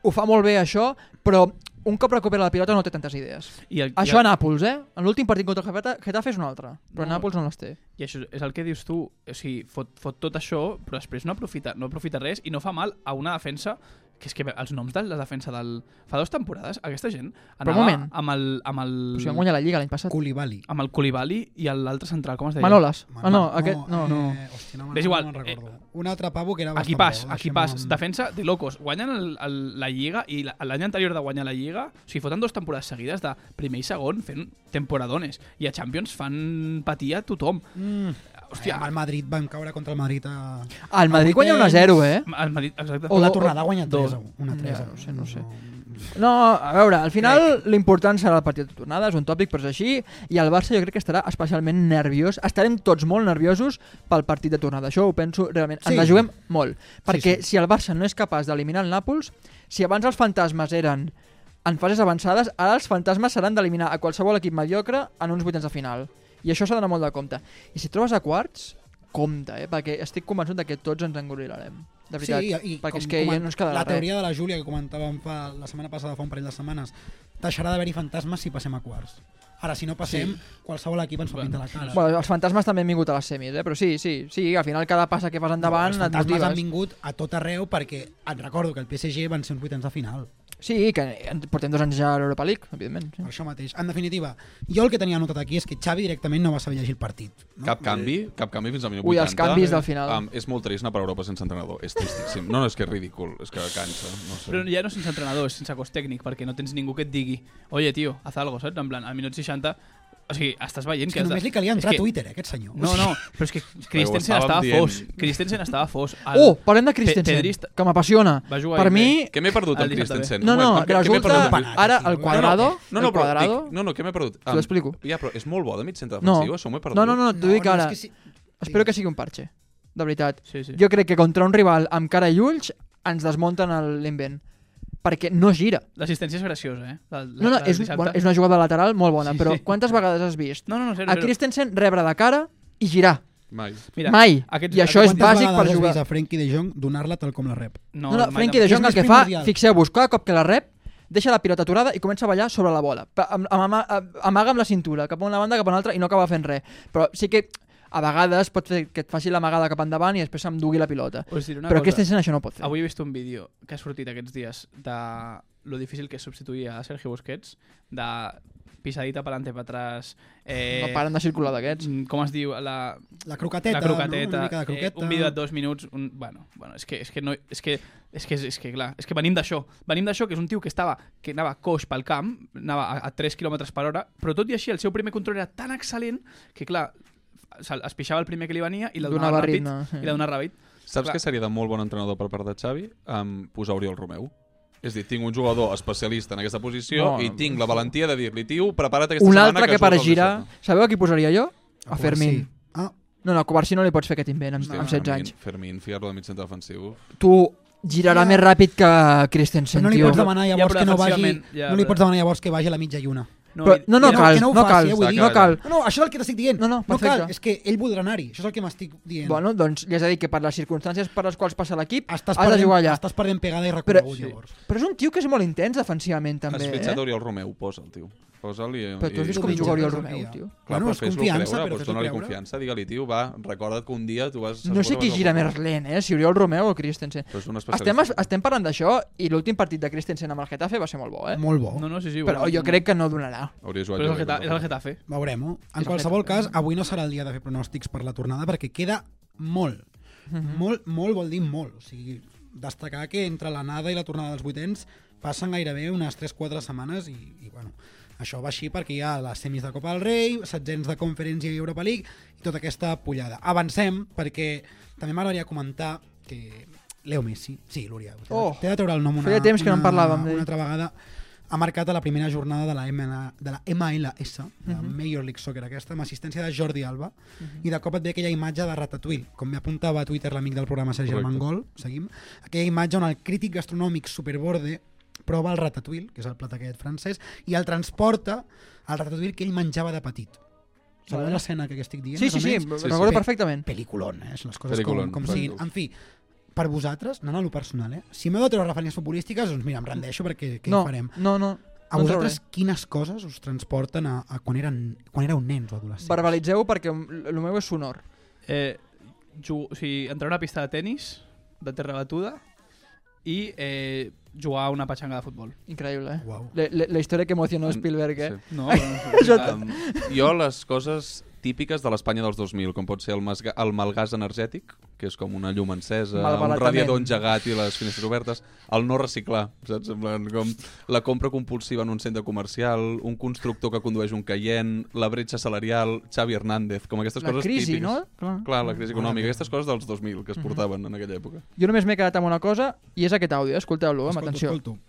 S2: ho fa molt bé això, però un cop recupera la pilota no té tantes idees.
S8: I el-
S2: això
S8: i
S2: a
S8: el-
S2: Nàpols, eh? En l'últim partit contra el Getafe- Getafe és un altre, però
S8: No.
S2: no. Nàpols no les té.
S8: I això és el que dius tu, o sigui, fot, fot tot això, però després no aprofita, no aprofita res i no fa mal a una defensa que és que els noms de la defensa del... Fa dues temporades, aquesta gent
S2: Però un
S8: anava
S2: moment.
S8: amb el... Amb el...
S2: Però si van guanyar la Lliga l'any passat.
S3: Koulibaly.
S8: Amb el Koulibaly i l'altre central, com es deia?
S2: Manolas. Ah, no, aquest... No, no.
S3: Eh, hòstia, no,
S8: És igual,
S3: no me'n recordo. Un altre pavo que era
S8: Aquí
S3: bastant
S8: pas,
S3: bo,
S8: aquí
S3: deixem-ho
S8: pas.
S3: amb-
S8: Defensa de locos. Guanyen el, el, la Lliga i la- l'any anterior de guanyar la Lliga, o sigui, foten dues temporades seguides de primer i segon fent temporadones. I a Champions fan patir a tothom.
S3: Mm.
S8: Hòstia.
S3: Amb el Madrid vam caure contra el Madrid a...
S2: El Madrid
S3: a
S2: guanya
S3: vuitens.
S2: 1-0, eh?
S8: El Madrid, exacte.
S3: O la tornada guanya
S2: dos.
S3: 3 a 1. Una 3 a
S2: Ja,
S3: 1.
S2: no sé, no sé. No, a veure, al final l'important serà el partit de tornada, és un tòpic, però és així, i el Barça jo crec que estarà especialment nerviós, estarem tots molt nerviosos pel partit de tornada, això ho penso realment, sí.
S3: Sí.
S2: ens la juguem molt, perquè
S3: sí.
S2: si el Barça no és capaç d'eliminar el Nàpols, si abans els fantasmes eren en fases avançades, ara els fantasmes seran d'eliminar a qualsevol equip mediocre en uns vuitens de final, i això s'ha d'anar molt de compte. I si et trobes a quarts, compte, eh? perquè estic convençut de que tots ens engorilarem. De veritat,
S3: sí, i com,
S2: perquè és que
S3: com
S2: ja no ens quedarà
S3: La
S2: res.
S3: teoria de la Júlia que comentàvem fa, la setmana passada, fa un parell de setmanes, deixarà d'haver-hi fantasmes si passem a quarts. Ara, si no passem, sí. qualsevol equip ens pot
S8: Ah,
S3: pintar la cara.
S2: Bueno, els fantasmes també han vingut a les semis, eh? però sí, sí, sí, al final cada passa que fas endavant
S3: els
S2: et
S3: fantasmes han
S2: motives.
S3: vingut a tot arreu perquè et recordo que el PSG van ser uns vuitens de final.
S2: Sí, que en- portem dos anys ja a l'Europa League, evidentment. Sí.
S3: Per això mateix. En definitiva, jo el que tenia anotat aquí és que Xavi directament no va saber llegir el partit.
S1: Cap canvi, cap canvi fins al minut 80.
S2: Ui, els canvis del final.
S1: Um, és molt trist anar per Europa sense entrenador, és tristíssim. No, no, és que és ridícul, és que cansa. No sé.
S8: Però ja no sense entrenador, sense cos tècnic, perquè no tens ningú que et digui oye, tio, haz algo, saps? En plan, al minut 60... O sigui, estàs veient
S3: És que
S8: has de-
S3: només li calia
S8: és
S3: entrar
S8: que-
S3: a Twitter, eh, aquest senyor.
S8: No, no, però és que Christensen
S1: estàvem
S8: estava
S1: dient.
S8: fos. Christensen estava fos. El
S2: Oh, parlem de
S8: Pe-
S2: Christensen,
S8: Pedri est-
S2: que m'apassiona.
S8: Va jugar eh,
S2: Per
S8: ahir
S2: mi...
S8: bé.
S1: Què m'he perdut
S8: El
S1: amb
S8: dissabte
S1: Christensen?
S2: No, no,
S1: Un moment,
S2: que
S1: què- què m'he
S2: resulta...
S1: perdut amb-
S2: Ara, el quadrado...
S1: No, no,
S2: el
S1: però
S2: quadrado...
S1: dic, no, no, què m'he perdut?
S2: T'ho explico.
S1: Ja, però és molt bo de mig centre
S2: No,
S1: defensiu, això m'ho he perdut.
S2: no, no, no t'ho dic
S3: no,
S2: ara.
S3: és que sí.
S2: Espero que sigui un parche, de veritat.
S8: Sí, sí.
S2: Jo crec que contra un rival amb cara i ulls ens desmunten el- l'invent, perquè no gira.
S8: L'assistència és graciosa, eh? La, la,
S2: No, no,
S8: la del
S2: és,
S8: dissabte.
S2: bueno, és una jugada lateral molt bona,
S8: Sí,
S2: però
S8: sí.
S2: quantes vegades has vist
S8: No, no, no, zero,
S2: a
S8: zero.
S2: Christensen rebre de cara i girar?
S1: Mai.
S8: Mira,
S2: mai. I això és
S3: Quantes
S2: bàsic per
S3: vegades has
S2: jugar.
S3: vist a Frenkie de Jong donar-la tal com la rep.
S8: No,
S2: No, no,
S8: mai
S2: Frenkie de
S8: tampoc.
S2: Jong
S3: És més
S2: el que fa,
S3: primordial.
S2: fixeu-vos, cada cop que la rep, deixa la pilota aturada i comença a ballar sobre la bola. Pa- am- am- ama- a- Amaga amb la cintura, cap a una banda, cap a una altra, i no acaba fent res. Però sí que a vegades pot fer que et faci l'amagada cap endavant i després em dugui la pilota.
S8: Us diré una
S2: Però
S8: cosa.
S2: Christensen això no pot fer.
S8: Avui he vist un vídeo que ha sortit aquests dies de lo difícil que és substituir a Sergio Busquets, de pisadita per ante per atrás... Eh,
S2: No paren de circular d'aquests.
S8: mm, Com es diu? La,
S3: La croqueteta,
S8: la croqueteta,
S3: no? una mica de croqueta.
S8: Eh, un vídeo de dos minuts, un, bueno, bueno, és que és que no és que és que, és que clar, és que venim d'això. Venim d'això que és un tio que estava que anava coix pel camp, anava a, a 3 km per hora, però tot i així el seu primer control era tan excel·lent que clar, se- es pixava el primer que li venia i la donava,
S2: Donava
S8: ràpid
S2: ritme, sí.
S8: i la donava ràpid.
S1: Saps
S8: Clar.
S1: que seria de molt bon entrenador per part de Xavi? Um, posar Oriol Romeu. És a dir, tinc un jugador especialista en aquesta posició
S2: No,
S1: i tinc la valentia de dir-li, tio, prepara't aquesta
S2: Un
S1: setmana...
S2: altre que,
S1: surts
S2: per
S1: el
S2: girar...
S1: dissabte."
S2: Sabeu a qui posaria jo?
S3: Ah,
S2: A Fermín.
S3: sí. Ah,
S2: No, no, a Covarsí no li pots fer aquest invent amb,
S1: Hòstia,
S2: amb 16 anys.
S1: Fermín, Fermín, fiar-lo de mig centre defensiu.
S2: Tu girarà
S3: Ja.
S2: més ràpid que Christensen,
S3: però no li
S2: tio.
S3: pots demanar
S8: Ja,
S3: llavors
S8: però
S3: que no vagi...
S8: defensivament, ja,
S3: no li
S8: però-
S3: pots demanar llavors que vagi a la mitja lluna.
S2: Però, no, no,
S3: Que no-
S2: cal,
S3: que no
S2: no,
S3: ho faci,
S2: cal,
S3: eh, vull
S1: dir.
S2: no cal.
S3: No, no, això és el que t'estic dient.
S2: No, no,
S3: no cal,
S2: perfecte.
S3: és que ell voldrà anar-hi. Això és el que m'estic dient.
S2: Bueno, doncs ja s'ha dit que per les circumstàncies per les quals passa l'equip has
S3: estàs,
S2: de
S3: perdent,
S2: jugar allà.
S3: estàs perdent pegada i
S2: Però,
S3: recorregut,
S2: sí.
S3: llavors.
S2: però és un tio que és molt intens defensivament
S1: Has
S2: també,
S1: fitxat
S2: eh?
S1: Oriol Romeu, posa'l, tio. Pel Posa-li...
S2: Però tu has
S1: i-
S2: vist com juga Oriol Romeu, tio.
S1: Clar,
S2: Bueno,
S1: però
S2: és
S1: fes-lo
S2: confiança,
S1: creure,
S2: però
S1: doncs
S2: fes-lo
S1: dona-li
S2: creure.
S1: confiança, digue-li, tio, va, recorda't que un dia tu vas...
S2: No sé
S1: segurament
S2: qui
S1: vas
S2: gira
S1: al-
S2: més lent, eh? Si Oriol Romeu o Christensen.
S1: Però és un especialista.
S2: Estem, estem parlant d'això i l'últim partit de Christensen amb el Getafe va ser molt bo, eh?
S3: Molt bo.
S8: No, no, sí, sí,
S2: Però
S8: bueno.
S2: jo crec que no donarà.
S1: Hauria
S8: Però és el, Geta és el Getafe.
S3: Veurem-ho. eh? En qualsevol cas, avui no serà el dia de fer pronòstics per la tornada perquè queda molt. Molt, molt vol dir molt. O sigui, destacar que entre l'anada i la tornada dels vuitens passen gairebé unes 3-4 setmanes i, i bueno, això va així perquè hi ha les semis de Copa del Rei, setzents de Conferència i Europa League i tota aquesta pullada. Avancem perquè també m'agradaria comentar que Leo Messi, sí, l'Oriol,
S2: Oh,
S3: T'he de treure el nom una,
S2: feia temps que no en
S3: una-
S2: parlàvem d'ell.
S3: Una altra vegada ha marcat a la primera jornada de la, ML, de la MLS, de la
S2: Mhm.
S3: Major League Soccer aquesta, amb assistència de Jordi Alba, i de cop et ve aquella imatge de Ratatouille, com m'apuntava a Twitter l'amic del programa Sergi
S1: Correcte.
S3: Armengol, seguim, aquella imatge on el crític gastronòmic Superborde prova el Ratatouille, que és el plat aquest francès, i el transporta al Ratatouille que ell menjava de petit. Sabeu
S2: Vale.
S3: l'escena que estic dient?
S2: Sí,
S3: més
S2: sí,
S3: o
S2: sí,
S3: menys?
S2: sí, recordo perfectament.
S3: Peliculón, eh? Són les coses
S1: Peliculón,
S3: com, com
S1: correcte.
S3: siguin. En fi, per vosaltres, anant a lo personal, eh? Si m'heu de treure referències futbolístiques, doncs mira, em rendeixo perquè què
S2: No, eh?
S3: hi farem?
S2: no, no.
S3: A
S2: no
S3: vosaltres, quines coses us transporten a, a quan, eren, quan éreu nens o adolescents?
S2: Verbalitzeu perquè el meu és sonor.
S8: Eh, ju- o sigui, entrar a una pista de tennis de terra batuda i eh, jugar a una patxanga de futbol.
S2: Increïble, eh?
S3: Uau.
S2: Le- le- La història que emocionó Spielberg, eh?
S1: Sí.
S8: No,
S2: Això
S8: no,
S1: Um, jo les coses típiques de l'Espanya dels 2000, com pot ser el, masga, el malgàs energètic, que és com una llum encesa, un
S2: Malbaratament.
S1: radiador engegat i les finestres obertes, el no reciclar, saps? En plan, com la compra compulsiva en un centre comercial, un constructor que condueix un caient, la bretxa salarial, Xavi Hernández, com aquestes
S2: La
S1: coses
S2: crisi,
S1: típiques.
S2: no? Mhm. Clar.
S1: Clar, la crisi econòmica, aquestes coses dels 2000 que es portaven en aquella època.
S2: Jo només m'he quedat amb una cosa i és aquest àudio, eh? escolteu-lo, amb
S3: Escolto,
S2: atenció.
S3: escolto.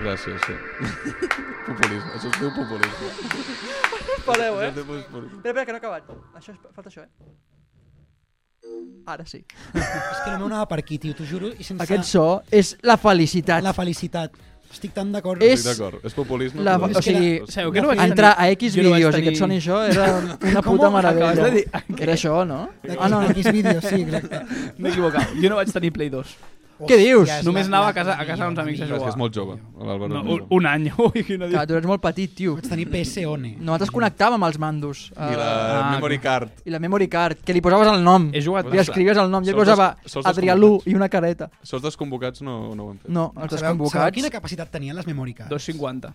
S1: Gràcies, sí. populisme, això es diu populisme.
S2: Pareu,
S1: Això
S2: eh?
S1: es diu populisme.
S2: Espera, espera, que no he acabat. Això és... Falta això, eh? Ara sí.
S3: És que la meva anava per aquí, tio, t'ho juro. I sense
S2: Aquest so és la felicitat.
S3: La felicitat. Estic tan d'acord.
S2: És-
S1: Estic d'acord, és populisme.
S2: La,
S1: però-
S2: o sigui,
S8: Sabeu que no vaig tenir-
S2: entrar a X
S8: jo no vaig
S2: vídeos i que
S8: tenir-
S2: et soni això era una
S8: Com
S2: puta
S8: ho
S2: meravella.
S8: acabes de dir?
S2: Era això, no?
S3: D'aquests
S2: Ah, no, no.
S3: d'aquests vídeos, sí, exacte.
S8: M'he equivocat. Jo no vaig tenir Play 2.
S2: Què dius?
S3: Hòstia, és
S8: Només
S3: la-
S8: anava a
S3: la-
S8: casa,
S3: la
S8: a casa
S3: millor,
S8: d'uns amics
S3: la
S8: a
S1: Clar, és que és
S8: jugar.
S1: molt jove. l'Àlvaro
S8: No,
S1: és molt
S8: un,
S1: jove.
S8: un any. Ui, quina
S2: Clar,
S8: dia.
S2: tu eres molt petit, tio.
S3: Vaig tenir PSONE.
S2: Nosaltres connectàvem els mandos.
S1: I la
S8: Ah,
S1: memory card.
S2: I la memory card, que li posaves el nom.
S8: He jugat
S2: Li escrivies el nom, jo
S1: Sols
S2: posava
S1: des- sols
S2: Adrià Lu
S1: desconvocats.
S2: i una careta.
S1: Sols desconvocats no, no ho hem fet.
S2: No, els
S3: Sabeu- sabeu
S2: desconvocats.
S3: quina capacitat tenien les memory cards?
S8: 250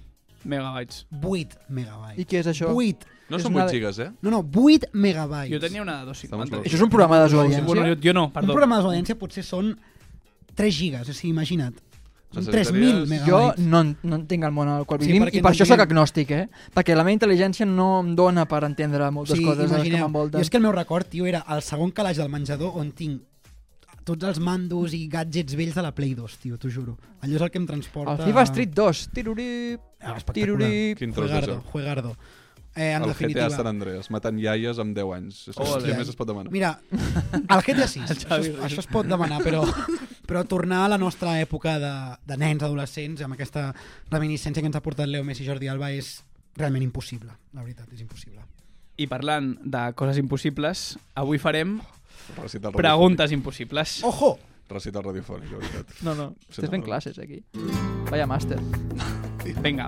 S8: megabytes.
S3: 8 megabytes.
S2: I què és això?
S3: 8.
S1: No
S2: És
S1: són
S2: una
S1: 8
S2: de-
S1: gigas, eh?
S3: No, no, 8 megabytes.
S8: Jo tenia una de 250.
S1: Estamos
S2: Això és un programa de
S8: Bueno, jo,
S2: desobediència?
S8: jo no,
S3: Perdó.
S8: perdó.
S3: Un programa d'audiència potser són 3 gigas, o sigui, imagina't. Són
S1: Necessitaries-
S3: 3.000
S2: Jo
S3: megabytes.
S2: no, en- no entenc el món en el qual
S3: Sí,
S2: vivim
S3: perquè
S2: i
S3: no
S2: per això
S3: entenem.
S2: sóc agnòstic, eh? Perquè la meva intel·ligència no em dona per entendre moltes coses de les que
S3: imagineu,
S2: m'envolten.
S3: jo és que el meu record, tio, era el segon calaix del menjador on tinc tots els mandos i gadgets vells de la Play 2, tio, t'ho juro. Allò és el que em transporta...
S2: El FIFA Street 2. Tirurip,
S3: Ah, espectacular.
S2: tirurip.
S1: Quin tros de
S3: Juegardo,
S1: joc.
S3: juegardo. Eh, en
S1: El
S3: definitiva...
S1: GTA San Andreas, matant iaies amb 10 anys. És que
S3: Hòstia.
S1: què més es pot demanar?
S3: Mira, el GTA 6, això, es, això es pot demanar, però, però tornar a la nostra època de, de nens, adolescents, amb aquesta reminiscència que ens ha portat Leo Messi i Jordi Alba és realment impossible, la veritat, és impossible.
S8: I parlant de coses impossibles, avui farem
S1: Recita el
S8: preguntes impossibles.
S3: Ojo!
S1: radiofònic. Recita el radiofònic, la veritat.
S2: No, no. Estàs fent classes, aquí. Vaya màster.
S8: Vinga,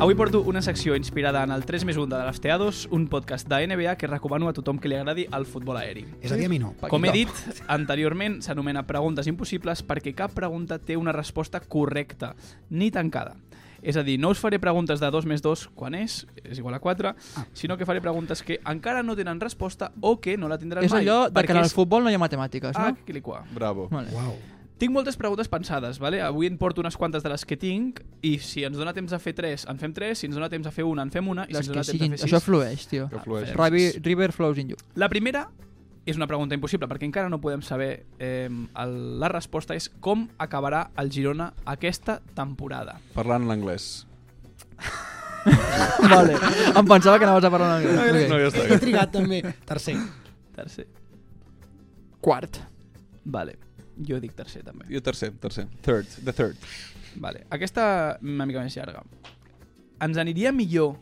S8: avui porto una secció inspirada en el 3 més 1 de l'Afteados, un podcast de NBA que recomano a tothom que li agradi el futbol aeri.
S3: És a dir, a mi no.
S8: Com he dit anteriorment, s'anomena preguntes impossibles perquè cap pregunta té una resposta correcta, ni tancada. És a dir, no us faré preguntes de 2 més 2 quan és, és igual a 4,
S2: Ah.
S8: sinó que faré preguntes que encara no tenen resposta o que no la tindran
S2: És
S8: mai.
S2: allò de que
S8: perquè
S2: en el
S8: és-
S2: futbol no hi ha matemàtiques,
S8: Ah,
S2: no?
S8: quilicua.
S1: Bravo.
S2: Vale.
S3: Uau.
S8: Tinc moltes preguntes pensades, vale? avui en porto unes quantes de les que tinc i si ens dona temps a fer 3, en fem 3, si ens dona temps a fer una, en fem una i si
S2: Les
S8: ens
S2: que
S8: dona temps
S2: siguin.
S8: a fer Ah, 6.
S2: Això flueix, tio.
S1: Que flueix.
S2: Ravi- River flows in you.
S8: La primera és una pregunta impossible perquè encara no podem saber eh, el, la resposta és com acabarà el Girona aquesta temporada.
S1: Parlant l'anglès.
S2: vale. Em pensava que anaves a parlar una mica.
S1: No,
S2: Okay.
S1: ja
S3: He
S1: està.
S3: trigat també. Tercer.
S8: Tercer.
S2: Quart.
S8: Vale. Jo dic tercer també.
S1: Jo tercer, tercer. Third, the third.
S8: Vale. Aquesta una mica més llarga. Ens aniria millor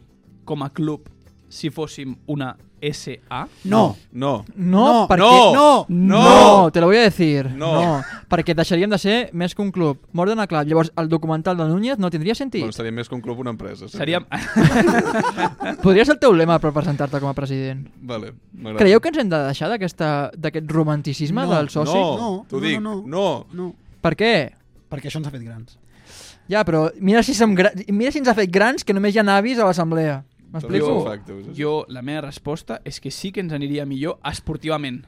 S8: com a club si fóssim una SA?
S3: No.
S1: No.
S2: No,
S3: No,
S2: perquè...
S1: no,
S2: No,
S1: no.
S2: te lo voy a decir.
S1: No.
S2: No. perquè deixaríem de ser més que un club. More than a club. Llavors, el documental de Núñez no tindria sentit.
S1: Bueno, seria més que un club una empresa. sí.
S8: Seríem...
S2: Podria ser el teu lema per presentar-te com a president.
S1: Vale, m'agrada.
S2: Creieu que ens hem de deixar d'aquesta- d'aquest romanticisme
S3: No,
S2: del soci?
S1: No,
S3: No,
S1: t'ho
S3: no,
S1: dic,
S3: no, No,
S2: Per què?
S3: perquè això ens ha fet grans.
S2: Ja, però mira si, som gra... mira si ens ha fet grans que només hi ha avis a l'assemblea.
S1: Jo,
S2: M'explico?
S1: factos, jo...
S8: Jo, la meva resposta és que sí que ens aniria millor esportivament,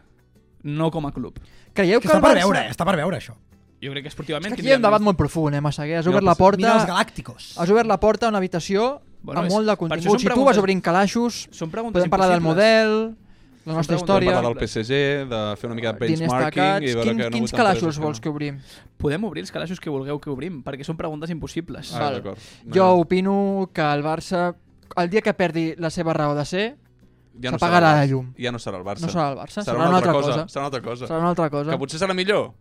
S8: no com a club.
S2: Creieu
S3: Que
S2: que,
S3: està
S2: el
S3: per
S2: Barça-
S3: veure, està per veure això.
S8: Jo crec que esportivament...
S2: Aquí hi ha
S8: tindríem
S2: un debat
S8: més-
S2: molt profund, eh, Massaguer. Has
S8: No,
S2: obert la
S8: pues,
S2: porta...
S3: Mira els galàcticos.
S2: Has obert la porta a una habitació
S8: Bueno,
S2: bueno, amb
S8: és-
S2: molt de
S8: per això
S2: contingut.
S8: són
S2: Si tu
S8: preguntes-
S2: vas obrint calaixos,
S8: Són preguntes
S2: podem parlar del
S8: impossibles.
S2: model, la nostra
S8: preguntes
S1: Podem
S2: història,
S1: parlar del PSG, de fer una mica de
S2: diners
S1: benchmarking...
S2: tacats...
S1: I veure
S2: Quin,
S1: que no
S2: quins
S1: voten
S2: calaixos
S1: empreses no.
S2: vols que obrim?
S8: Podem obrir els calaixos que vulgueu que obrim, perquè són preguntes impossibles.
S1: Ah,
S2: Val.
S1: d'acord.
S2: Jo opino que el Barça, el dia que perdi la seva raó de ser,
S1: Ja serà el Barça.
S2: s'apagarà la llum.
S1: Ja no serà el Barça.
S2: No serà el Barça,
S1: Serà, una, altra cosa.
S2: cosa.
S1: Serà una altra cosa.
S2: serà una altra cosa.
S1: Que potser serà millor.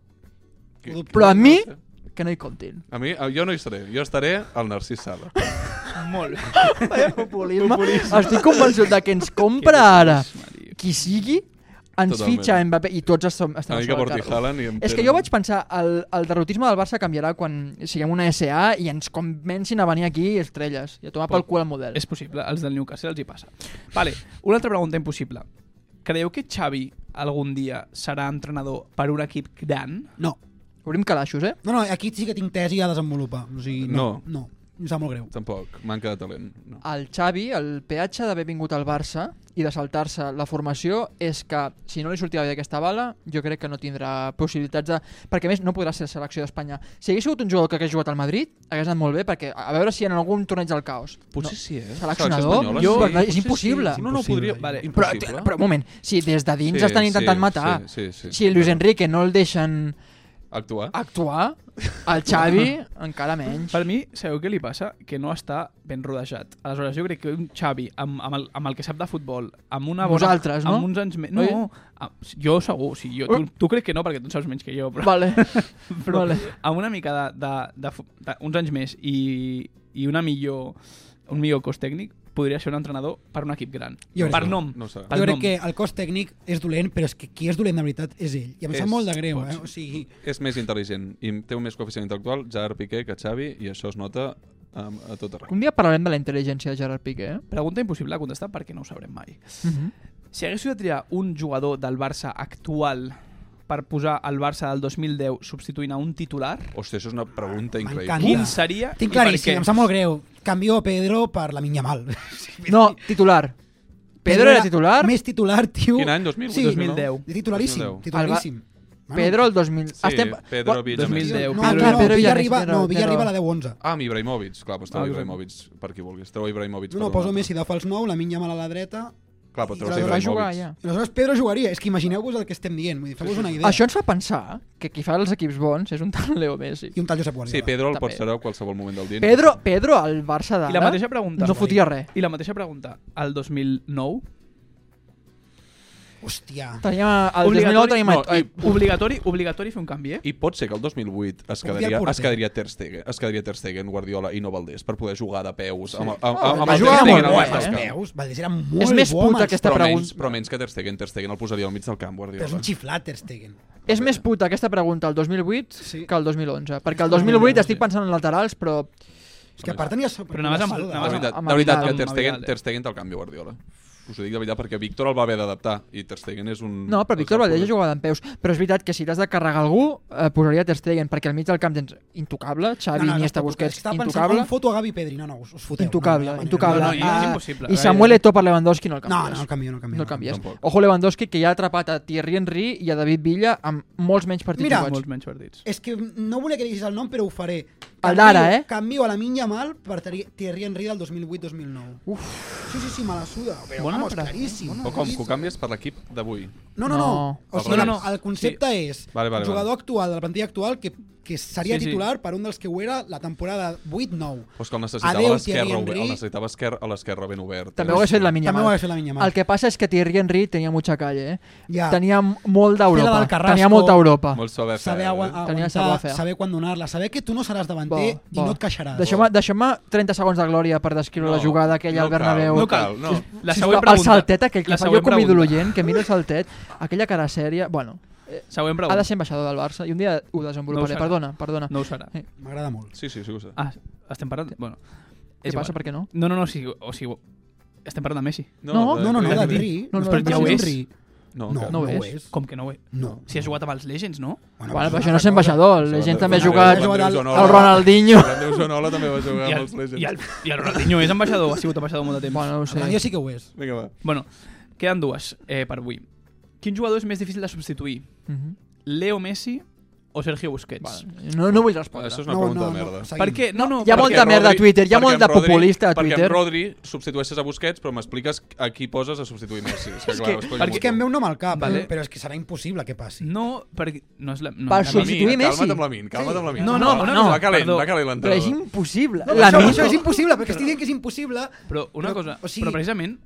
S1: Que-
S2: Però a mi, que no hi comptin.
S1: A mi, jo no hi seré. Jo estaré al Narcís Sala.
S8: Molt bé.
S2: Populisme. Estic convençut de que ens compra ara qui sigui, ens
S1: Totalment.
S2: fitxa Mbappé i tots estem, estem
S1: A mi que
S2: sobre el
S1: porti
S2: carro.
S1: Haaland i em
S2: És que
S1: tenen-
S2: jo vaig pensar, el, el derrotisme del Barça canviarà quan siguem una SA i ens comencin a venir aquí estrelles i a tomar pel cul el model.
S8: És possible, els del Newcastle els hi passa. Vale, una altra pregunta impossible. Creieu que Xavi algun dia serà entrenador per un equip gran?
S3: No.
S2: Obrim calaixos, eh?
S3: No, no, aquí sí que tinc tesi a desenvolupar. O sigui, no. No. Em sap molt greu.
S1: Tampoc. Manca de talent. No.
S2: El Xavi, el peatge d'haver vingut al Barça i de saltar-se la formació és que si no li sortirà bé aquesta bala, jo crec que no tindrà possibilitats de... Perquè a més no podrà ser selecció d'Espanya. Si hagués sigut un jugador que hagués jugat al Madrid, hagués anat molt bé perquè a veure si en algun torneig del caos.
S1: Potser
S2: no.
S1: sí, eh?
S2: Seleccionador?
S1: Selecció espanyola,
S2: Jo,
S1: sí.
S2: és impossible.
S1: No, no, podria...
S8: Vale.
S2: Però,
S1: Impossible.
S2: però un moment, si des de dins
S1: Sí,
S2: estan intentant
S1: sí,
S2: matar,
S1: sí, sí, sí.
S2: si Luis Enrique no el deixen
S1: Actuar.
S2: actuar, el Xavi encara menys.
S8: Per mi, sabeu què li passa? Que no està ben rodejat. Aleshores, jo crec que un Xavi, amb, amb, el, amb el que sap de futbol, amb una bona...
S2: Vosaltres, no?
S8: Amb uns anys més... No,
S2: Oi?
S8: amb, jo segur. O sigui,
S3: Uh.
S8: jo, tu, tu crec que no, perquè tu en saps menys que jo. Però...
S2: Vale.
S8: però
S2: Vale.
S8: amb una mica de, de, de, fu- de uns anys més i, i una millor, un millor cos tècnic, podria ser un entrenador per un equip gran.
S3: Jo crec
S8: per
S3: que no.
S8: nom.
S1: No sé.
S8: Per
S3: jo crec
S8: nom.
S3: que el cos tècnic és dolent, però és que qui és dolent de veritat és ell. I em sap
S1: És,
S3: molt de greu,
S1: pots.
S3: eh? O sigui,
S1: És més intel·ligent i té un més coeficient intel·lectual, Gerard Piqué, que Xavi, i això es nota um, a tot arreu.
S2: Un dia parlarem de la intel·ligència de Gerard Piqué, eh?
S8: Pregunta impossible de contestar perquè no ho sabrem mai.
S2: Mhm.
S8: Si haguéssiu de triar un jugador del Barça actual per posar el Barça del 2010 substituint a un titular,
S1: Hòstia, això és una pregunta
S3: M'encanta.
S1: increïble.
S8: quin seria
S3: tinc
S8: i per
S3: claríssim,
S8: què?
S3: em sap molt greu. Canvio a Pedro per la Minyamal.
S2: No, titular. Pedro era titular,
S3: Més titular, tio.
S1: Quin any? 2000?
S3: Sí,
S8: 2010.
S3: Titularíssim,
S1: 2010.
S3: titularíssim. Bueno,
S2: Pedro el 2000.
S1: Sí, Pedro Villa
S8: 2010.
S3: No,
S2: Pedro-
S3: no,
S2: Pedro
S3: Pedro
S2: Villa-
S3: Villarriba,
S2: Pedro-
S3: no, Villarriba
S2: Pedro-
S3: la 10-11.
S1: Ah, amb Ibrahimovic, clar, pots
S8: Ah,
S1: treure
S8: Ibrahimovic.
S1: Ibrahimovic per qui vulguis. Treu Ibrahimovic.
S3: No, no,
S1: per
S3: poso
S1: un altre.
S3: Messi de fals 9, la Minyamal a la dreta.
S1: Clar, però
S3: I
S1: treus
S3: clar,
S2: Va jugar
S1: Ibrahimovic.
S2: ja.
S3: I aleshores Pedro jugaria. És que imagineu-vos el que estem dient. Vull dir, feu-vos una idea.
S2: Això ens fa pensar que qui fa els equips bons és un tal Leo Messi.
S3: I un tal Josep Guardiola.
S1: Sí, Pedro el
S2: També.
S1: pot ser a qualsevol moment del dia.
S2: Pedro, Pedro al Barça
S8: I la
S2: d'ara
S8: mateixa pregunta.
S2: no fotia res.
S8: I la mateixa pregunta. El 2009?
S3: Hòstia.
S2: Teníem el 2009 teníem...
S8: no,
S2: a-
S8: i, obligatori, obligatori fer un canvi, eh?
S1: I pot ser que el 2008 es
S3: Obvia
S1: quedaria,
S3: porter.
S1: es quedaria, Ter Stegen, es quedaria Ter Stegen, Guardiola i no Valdés per poder jugar de peus amb, amb, amb, amb,
S2: va
S1: el
S2: jugar
S1: Ter
S2: molt
S1: Stegen al mig
S2: bé,
S1: del
S2: eh?
S1: camp.
S3: Veus? Valdés era molt
S2: És més
S3: bo amb
S2: puta
S3: els
S2: aquesta
S1: Però
S2: pregun-
S1: menys, però menys que Ter Stegen, Ter Stegen el posaria al mig del camp,
S3: Però és
S1: Guardiola.
S3: un xiflat, Ter Stegen.
S2: És més puta aquesta pregunta al 2008
S3: Sí.
S2: que al 2011. Perquè al 2008 estic pensant en laterals, però
S3: És que a part tenia... Però
S8: anaves amb-
S1: De
S8: anaves
S1: veritat,
S2: amb-
S1: de veritat que
S8: amb
S1: Ter Stegen,
S8: Vidal, eh?
S1: Ter Stegen te'l canvio, Guardiola. Us ho dic de veritat perquè Víctor el va haver d'adaptar i Ter Stegen és un...
S2: No, però Víctor Valdés ha
S1: jugat...
S2: jugat en peus. Però és veritat que si t'has de carregar algú, eh, posaria Ter Stegen, perquè al mig del camp tens intocable, Xavi, no, no, Iniesta, Busquets,
S3: Estava pensant
S2: intocable,
S3: com foto a Gavi Pedri. No, no, us, us foteu.
S2: intocable,
S3: no, no,
S2: intocable.
S8: No, no, i és
S2: Ah,
S8: impossible.
S2: I Samuel Eto'o per Lewandowski no el
S3: Eh, No,
S2: canvies.
S3: no, no el canvio, no el canvio.
S2: no el canvies.
S1: tampoc.
S2: Ojo Lewandowski, que ja ha atrapat a Thierry Henry i a David Villa amb molts menys partits
S3: Mira,
S2: jugats.
S8: Molts menys partits.
S2: Eh,
S3: És que no volia que diguis el nom, però ho faré.
S2: El d'ara, eh?
S3: Canvio a la minya mal per Thierry Thierry Henry del 2008-2009. Uf. Sí, sí, sí, me la suda. Però,
S8: Bona
S3: vamos,
S8: pre-
S3: claríssim.
S1: O com, que ho canvies per l'equip d'avui.
S3: No, no, no.
S2: No.
S3: O sigui,
S8: No,
S3: no,
S8: no.
S3: el concepte és
S1: Vale, vale,
S3: el jugador actual de la plantilla actual que, que seria
S8: Sí, sí.
S3: titular per un dels que ho era la temporada 8-9.
S1: Però és que el necessitava
S3: Adeu,
S1: a l'esquerra,
S3: Thierry Henry.
S1: el necessitava a l'esquerra- a l'esquerra eh? ben obert.
S2: També ho hagués fet la minya
S3: També ho
S2: mal.
S3: hagués fet la minya mal.
S2: El que passa és que Thierry Henry tenia mucha calle, eh?
S3: Ja.
S2: Tenia molt
S3: Fer la
S2: d'Europa.
S3: del Carrasco.
S2: Tenia molta Europa.
S1: Molt suave.
S3: Saber
S1: eh?
S3: agua-
S2: Tenia
S3: aguantar,
S2: sabor fer.
S3: saber quan donar-la, saber que tu no seràs davanter i no et queixaràs.
S2: Deixa'm, deixa'm 30 segons de glòria per descriure
S1: No,
S2: la jugada aquella
S1: no
S2: al
S1: cal, no
S2: Bernabéu.
S1: cal, no.
S2: Sisplau,
S8: La següent pregunta.
S2: El saltet aquell que
S8: La
S2: fa jo
S8: següent
S2: com
S8: pregunta.
S2: idologent, que miro el saltet, aquella cara sèria... Bueno,
S8: Següent pregunta.
S2: Ha de ser ambaixador del Barça i un dia ho
S8: No
S2: desenvoluparé.
S8: ho serà.
S2: perdona, perdona.
S8: No ho serà. Eh,
S3: M'agrada molt.
S1: Sí, sí, sí que ho sé.
S8: Ah, estem parlant... Bueno,
S2: Eh. Què
S8: és
S2: passa?
S8: igual.
S2: Per què no?
S8: No, no, no, o sigui, o sigui estem parlant de Messi.
S1: No,
S3: No, no, no, de Dri.
S2: No, no,
S8: ja
S3: Estem parlant
S8: ho
S3: d'un
S8: és.
S3: Dri.
S1: No,
S3: No,
S1: encara.
S3: no ho
S2: ho
S3: és.
S8: Com que no ho és?
S3: No.
S8: Si ha jugat amb els Legends, no?
S3: Bueno,
S2: Bueno,
S3: és una
S2: però això no
S3: altra
S2: és
S3: cosa.
S2: ambaixador. La gent també ha
S1: Andreu-
S2: jugat
S1: Andreu
S3: al-
S1: Zonola-
S2: el Ronaldinho.
S1: Andreu Zonola també va jugar
S8: I
S1: amb
S8: el,
S1: els Legends.
S8: i, el, I el Ronaldinho és ambaixador, ha sigut ambaixador molt de temps.
S2: Bueno, no ho
S3: Per tant, Jo
S2: sé.
S3: sí que ho és.
S1: Vinga, va.
S8: Bueno, queden dues eh, per avui. Quin jugador és més difícil de substituir?
S2: Mhm.
S8: Leo Messi o Sergio Busquets?
S2: No, no vull
S1: Ah,
S2: respondre.
S1: Això és una pregunta de merda.
S3: seguim.
S8: Per què? No, no,
S2: Hi ha
S8: perquè-
S2: molta merda a Twitter, hi ha
S1: perquè
S2: molt de
S1: en Rodri-
S2: populista a
S1: Perquè
S2: Twitter.
S1: en Rodri substitueixes a Busquets, però m'expliques a qui poses a substituir Messi. És que, clar, és
S8: perquè-
S3: És que em ve un nom al cap, eh?
S8: Vale.
S3: però és que serà impossible que passi.
S8: No, perquè... No és la, no, la
S2: Per substituir
S8: Mini.
S2: Messi.
S1: Calma't amb la min, calma't amb la min.
S8: No, no,
S1: va,
S8: no,
S1: va,
S8: no,
S1: Va calent,
S8: perdó.
S1: va calent
S2: Però és
S1: l'entrenador.
S2: impossible.
S3: No,
S2: la
S3: això,
S2: nit...
S3: això és impossible, perquè estic dient que és impossible.
S8: Però una
S3: Però,
S8: cosa,
S3: o sigui-
S8: però precisament...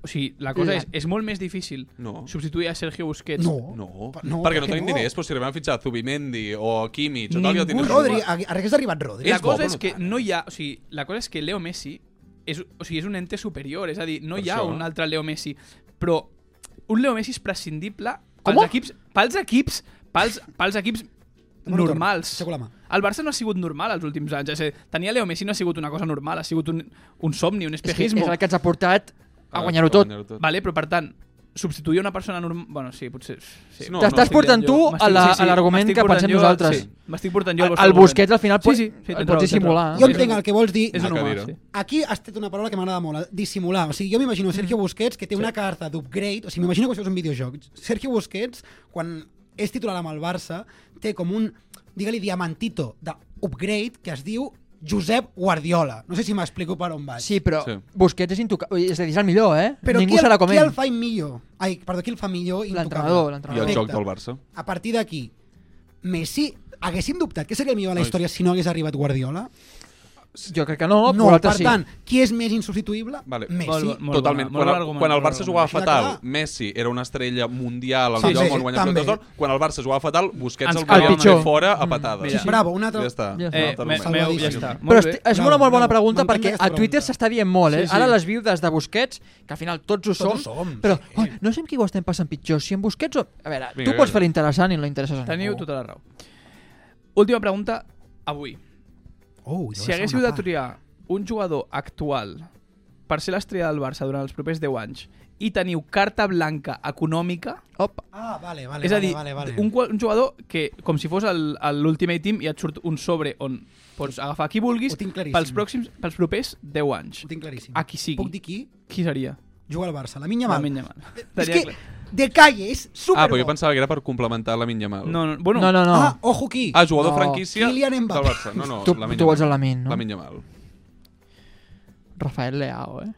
S8: O sigui, la cosa
S2: La-
S8: és, és molt més difícil
S1: No.
S8: substituir a Sergio Busquets.
S3: No.
S1: No,
S3: Pa-
S1: no,
S3: no,
S1: perquè
S3: per
S1: no
S3: què
S1: tenim
S3: no?
S1: diners, però si arribem a fitxar Zubimendi o Kimmich o tal, ja
S3: Ningú,
S1: tindrem...
S3: Rodri, ha- hagués arribat Rodri.
S8: La
S1: És bo,
S8: cosa
S1: però
S8: és
S1: no
S8: que
S1: tant.
S8: no hi ha... O sigui, la cosa és que Leo Messi és, o sigui, és un ente superior, és a dir, no
S1: Per
S8: hi ha
S1: això.
S8: un altre Leo Messi, però un Leo Messi és prescindible pels
S2: Com?
S8: equips, pels equips, pels, pels equips
S3: Bueno, torna.
S8: normals.
S3: Aixeco la mà.
S8: El Barça no ha sigut normal els últims anys. És a dir, tenir Leo Messi no ha sigut una cosa normal, ha sigut un, un somni, un
S2: És, que és
S8: espejismo.
S2: el que ens ha portat a guanyar-ho tot.
S8: Vale, però per tant, substituir una persona normal... Bueno, sí, potser... Sí.
S1: No, T'estàs
S8: m'estic
S2: portant
S8: liant
S2: tu
S8: jo. M'estic-
S2: a la-
S8: sí, sí,
S2: a l'argument
S8: m'estic
S2: que
S8: portant
S2: pensem
S8: jo-
S2: nosaltres.
S8: Sí, m'estic portant jo
S2: El,
S8: vostre argument.
S2: Busquets al final
S8: Sí,
S2: pot,
S8: sí, sí,
S2: el
S8: tens raó,
S2: pots
S8: tens
S2: dissimular.
S8: raó.
S3: Jo
S8: Ah, és
S3: entenc
S8: un-
S3: el que vols dir.
S8: És
S1: La
S8: un home,
S1: cadira.
S8: sí.
S3: Aquí has tret una paraula que m'agrada molt, eh, dissimular. O sigui, jo m'imagino
S2: Mm.
S3: Sergio Busquets, que té una carta d'upgrade, o sigui, m'imagino que això és un videojoc. Sergio Busquets, quan és titular amb el Barça, té com un, digue-li, diamantito d'upgrade que es diu Josep Guardiola. No sé si m'explico per on vaig.
S2: Sí, però
S1: Sí.
S2: Busquets és intocable. És a dir, és el millor, eh?
S3: Però
S2: Ningú
S3: qui,
S2: serà
S3: el,
S2: com
S3: qui
S2: ell.
S3: el fa millor? Ai, perdó, qui el fa millor? Intocable.
S2: L'entrenador, l'entrenador.
S1: I el joc
S3: Perfecte.
S1: del Barça.
S3: A partir d'aquí, Messi, haguéssim dubtat que seria el millor de la història si no hagués arribat Guardiola?
S2: Jo crec que no,
S3: no
S2: però
S3: per
S2: l'altre sí.
S3: tant, qui és més insubstituïble?
S1: Vale.
S3: Messi.
S8: Molt, bo- molt
S1: Totalment.
S8: Bona, molt
S1: quan,
S8: bon
S1: el,
S8: argument,
S1: quan el
S8: molt
S1: Barça
S8: bon
S1: jugava
S3: argument.
S1: fatal,
S3: Clar.
S1: Messi era una estrella mundial, el
S3: Sí,
S1: millor
S3: sí,
S1: sí, sí, guanyador
S3: també.
S1: de d'or. Quan el Barça jugava fatal, Busquets
S8: Ens
S1: el volia
S2: el pitjor.
S1: fer fora a patades.
S8: Mira.
S3: Bravo, un altre-
S1: Ja està.
S2: Ja està.
S8: Eh,
S1: Un altre
S8: me,
S1: argument.
S8: meu, ja
S3: Salvadíssim.
S8: està. Molt
S2: Però
S8: bé.
S2: esti- és
S3: Bravo,
S2: una molt bona
S3: bravo.
S2: pregunta
S3: M'encanta
S2: perquè
S3: aquesta
S2: a Twitter
S3: pregunta.
S2: s'està dient molt, eh?
S8: Sí, sí.
S2: Ara les viudes de Busquets, que al final tots ho
S3: Tots ho
S2: som,
S3: som,
S2: però
S3: sí.
S2: oi, no sé amb qui ho estem passant pitjor, si amb Busquets o... A veure,
S1: Vinga,
S2: tu pots
S1: vinga.
S2: fer l'interessant i no interesses a ningú.
S8: Teniu tota la raó. Última pregunta avui.
S3: Oh,
S8: Si haguéssiu de triar un jugador actual per ser l'estrella del Barça durant els propers 10 anys i teniu carta blanca econòmica,
S2: Op,
S3: Ah, vale, vale,
S8: és a dir,
S3: vale, vale, vale.
S8: Un, qual- un jugador que, com si fos el- el- l'Ultimate Team, i et surt un sobre on pots agafar qui vulguis
S3: Ho tinc claríssim.
S8: pels, pròxims, pels propers 10 anys.
S3: Ho tinc claríssim.
S8: A qui sigui.
S3: Puc dir qui?
S8: Qui seria?
S3: Jugar al Barça. La minya mal.
S8: La Yamal.
S3: És
S8: Estaria
S3: que
S8: clar.
S3: de calle és super
S1: Ah, però jo pensava que era per complementar la Minyamal.
S8: No, no, bueno,
S2: no, no, no.
S3: Ah, ojo qui.
S1: Ah, jugador
S2: No.
S1: franquícia
S3: Kylian
S1: del
S3: Mbappé.
S1: Barça. No, no,
S2: Tu-
S1: Lamine
S2: tu vols
S1: Yamal.
S2: el Lamine, no?
S1: Lamine Yamal.
S2: Rafael Leao, eh?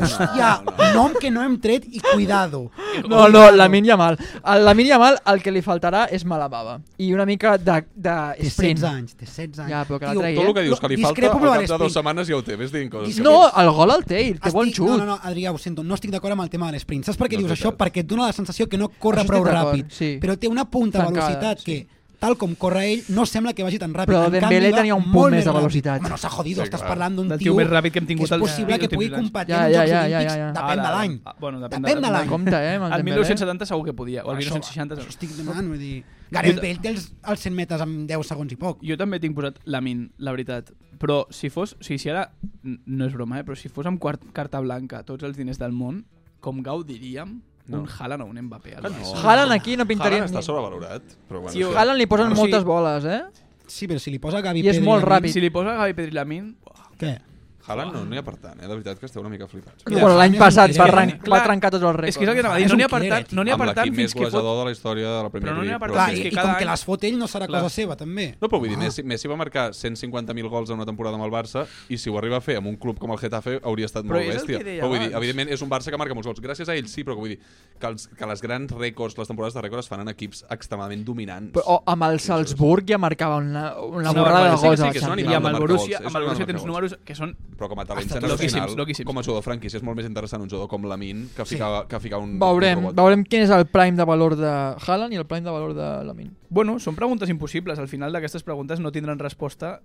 S3: Hòstia, nom que no hem tret i cuidado.
S2: No, no, la Min Yamal. A la Min Yamal el que li faltarà és mala bava. I una mica de... de
S3: Té 16 anys, té 16 anys.
S2: Ja, però que la
S3: Tio,
S2: tregui,
S1: Tot
S8: eh?
S1: el que dius
S3: No,
S1: que li falta,
S3: discrepo,
S1: al
S3: però
S1: cap de
S3: l'esprint.
S1: dues setmanes ja ho té. Ves dient coses. que
S2: No,
S1: dius.
S2: el gol al té, el té
S3: Estic-
S2: bon xut.
S3: No, no, no, Adrià, ho sento, no estic d'acord amb el tema de l'esprint. Saps per què
S1: No és
S3: dius això?
S1: veritat.
S3: Perquè et dona la sensació que no corre
S2: Això estic
S3: prou
S2: d'acord,
S3: ràpid.
S2: sí.
S3: Però té una punta de
S2: Tancada,
S3: velocitat
S2: sí.
S3: que, tal com corre ell, no sembla que vagi tan ràpid.
S2: Però
S3: En canvi,
S2: Dembélé
S3: va
S2: tenia un
S3: molt
S2: punt més
S3: més
S2: de
S3: ràpid.
S2: velocitat.
S3: Home, no s'ha jodido,
S1: Sí,
S3: estàs
S1: clar.
S3: parlant d'un
S8: Del tio
S3: tio...
S8: més ràpid que hem tingut
S3: és
S8: els-
S3: possible
S8: els
S3: que pugui
S8: últims anys.
S3: competir
S2: Ja,
S3: en uns
S2: ja,
S3: Jocs
S2: ja, ja,
S3: Olímpics.
S2: ja, ja.
S3: Depèn de
S8: Ara,
S3: l'any.
S8: ah, Bueno, depèn,
S3: Depèn de l'any.
S2: Compte, eh, amb el
S8: Al
S2: Dembélé.
S8: 1970 segur que podia, o al
S3: Això,
S8: 1960.
S3: això estic demanant, vull dir... Gareth Bale té els, els 100 metres en 10 segons i poc.
S8: Jo també tinc posat la min, la veritat. Però si fos... O sigui, si ara... n- No és broma, eh? Però si fos amb quart, carta blanca tots els diners del món, com gaudiríem
S1: No.
S8: no. un Haaland o un Mbappé. al
S1: Que
S8: Barça.
S1: no.
S2: Haaland aquí no pintaria...
S1: Haaland està
S2: ni-
S1: sobrevalorat. Però bueno,
S8: Tio,
S1: això-
S2: Haaland li posen
S8: Bueno, sí.
S2: moltes boles, eh?
S3: Sí, però si li posa Gavi
S2: I és
S3: Pedri
S2: molt
S3: a mi-
S2: ràpid.
S8: Si li posa Gavi Pedri la min...
S3: Què?
S1: Haaland no n'hi ha per tant, eh? De veritat que esteu una mica flipats.
S3: Mira,
S2: bueno,
S3: Haaland
S2: l'any
S3: és un
S2: passat va,
S3: killer.
S2: arran- va
S8: Clar,
S2: trencar tots els rècords. Ah,
S8: És que és el que anava a dir.
S3: És
S8: No
S3: un
S8: n'hi ha per
S3: killer,
S8: tant,
S3: tio.
S8: no n'hi ha
S1: Amb
S8: per tant
S1: l'equip més
S8: fins que fot...
S1: golejador de la història de la Premier
S8: Però no n'hi ha
S1: League,
S8: per
S1: però
S3: Clar,
S8: és
S3: i,
S8: que Ah.
S3: i com
S8: cada
S3: que
S8: any-
S3: les fot ell no serà
S8: Clar.
S3: cosa seva, també.
S1: No, però vull dir, Messi, Messi va marcar 150.000 gols en una temporada amb el Barça i si ho arriba a fer amb un club com el Getafe hauria estat
S8: Però
S1: molt
S8: és el
S1: bèstia.
S8: que deia
S1: Però vull dir,
S8: abans.
S1: evidentment és un Barça que marca molts gols. Gràcies a ell sí, però que vull dir que, els, que les grans rècords, les temporades de rècords es fan en equips extremadament dominants.
S2: Però,
S8: oh,
S2: o, amb el Salzburg ja marcava una, una
S1: Sí,
S2: borrada de
S1: sí,
S2: gols eh,
S1: sí,
S2: a
S1: que és un
S2: la Champions.
S1: animal
S8: I amb
S1: de
S8: el
S1: marcar gols, és
S8: Borussia, amb el
S1: un
S8: Borussia
S1: animal de
S8: tens
S1: marcar
S8: números que són...
S1: però com a talent
S8: Estan
S1: internacional,
S8: loquíssims, loquíssims.
S1: com a jugador franquís, és molt més interessant un jugador com la Min que ficava, que ficava un...
S2: Veurem,
S1: un robot.
S2: veurem quin és el prime de valor de Haaland i el prime de valor de Lamin.
S8: Bueno, són preguntes impossibles. Al final d'aquestes preguntes no tindran resposta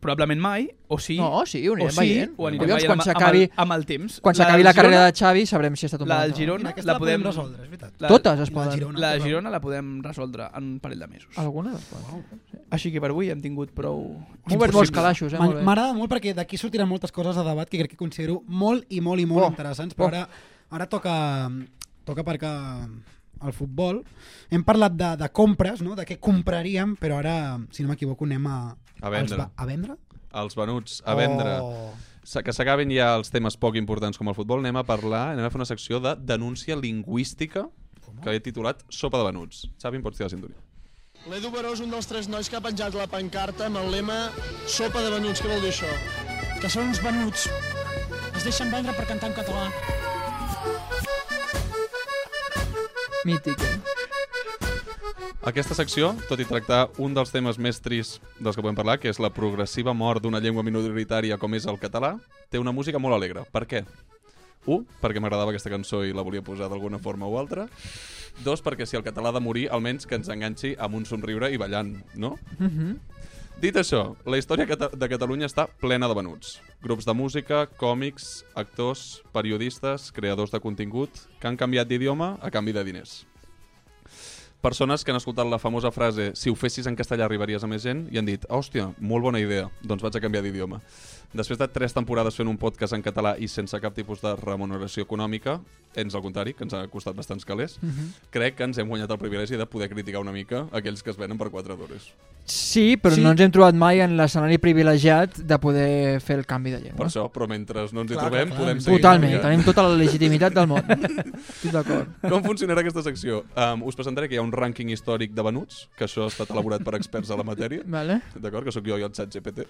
S8: probablement mai, o sí...
S2: No, sí, ho
S8: o
S2: anirem
S8: sí,
S2: veient.
S8: Ho anirem
S2: Collons,
S8: veient
S2: quan
S8: amb, amb,
S2: s'acabi-
S8: el, amb el temps.
S2: Quan s'acabi la, carrera de Xavi sabrem si ha estat un
S8: La
S2: bon
S8: del
S2: o no.
S8: Girona
S3: Aquesta
S8: la,
S3: la podem
S8: podem...
S3: resoldre, és veritat. I
S2: Totes es
S3: la del
S2: poden.
S3: Girona.
S8: La de Girona la podem resoldre en un parell de mesos.
S1: Ah,
S2: Alguna es poden.
S8: Així que per avui hem tingut prou...
S2: Hem obert molts calaixos, eh?
S3: M'ha-
S2: Molt bé.
S3: M'agrada molt perquè d'aquí sortiran moltes coses a debat que crec que considero molt i molt i molt
S2: Oh,
S3: interessants, però
S2: oh.
S3: ara, ara toca, toca aparcar el futbol. Hem parlat de, de compres, no? de què compraríem, però ara, si no m'equivoco, anem a...
S1: A vendre.
S3: als va- A vendre?
S1: Els venuts, a vendre.
S3: Oh.
S1: Sa- Que s'acabin ja els temes poc importants com el futbol, anem a parlar, anem a fer una secció de denúncia lingüística que he titulat Sopa de venuts. Xavi, em pots tirar la cinturia.
S11: L'Edu Baró és un dels tres nois que ha penjat la pancarta amb el lema Sopa de venuts, què vol dir això? Que són uns venuts. Es deixen vendre per cantar en català.
S2: Mític. eh?
S1: Aquesta secció, tot i tractar un dels temes més tris dels que podem parlar, que és la progressiva mort d'una llengua minoritària com és el català, té una música molt alegre. Per què? 1. Perquè m'agradava aquesta cançó i la volia posar d'alguna forma o altra. 2. Perquè si el català ha de morir, almenys que ens enganxi amb un somriure i ballant, no?
S2: Mhm.
S1: Dit això, la història cata- de Catalunya està plena de venuts. Grups de música, còmics, actors, periodistes, creadors de contingut, que han canviat d'idioma a canvi de diners. Persones que han escoltat la famosa frase si ho fessis en castellà arribaries a més gent i han dit, hòstia, molt bona idea, doncs vaig a canviar d'idioma. Després de tres temporades fent un podcast en català i sense cap tipus de remuneració econòmica, ens al contrari, que ens ha costat bastants calés,
S2: Mhm.
S1: crec que ens hem guanyat el privilegi de poder criticar una mica aquells que es venen per 4 dòlars.
S2: Sí, però
S1: Sí.
S2: no ens hem trobat mai en l'escenari privilegiat de poder fer el canvi de llengua.
S1: Per això, però mentre no ens hi
S2: Clar,
S1: trobem,
S2: clar,
S1: podem
S2: clar.
S1: seguir.
S2: Totalment,
S1: navegant.
S2: tenim tota la legitimitat del món. Estic d'acord.
S1: Com funcionarà aquesta secció? Um, us presentaré que hi ha un rànquing històric de venuts, que això ha estat elaborat per experts a la matèria.
S2: Vale.
S1: D'acord? Que sóc jo i el xat GPT.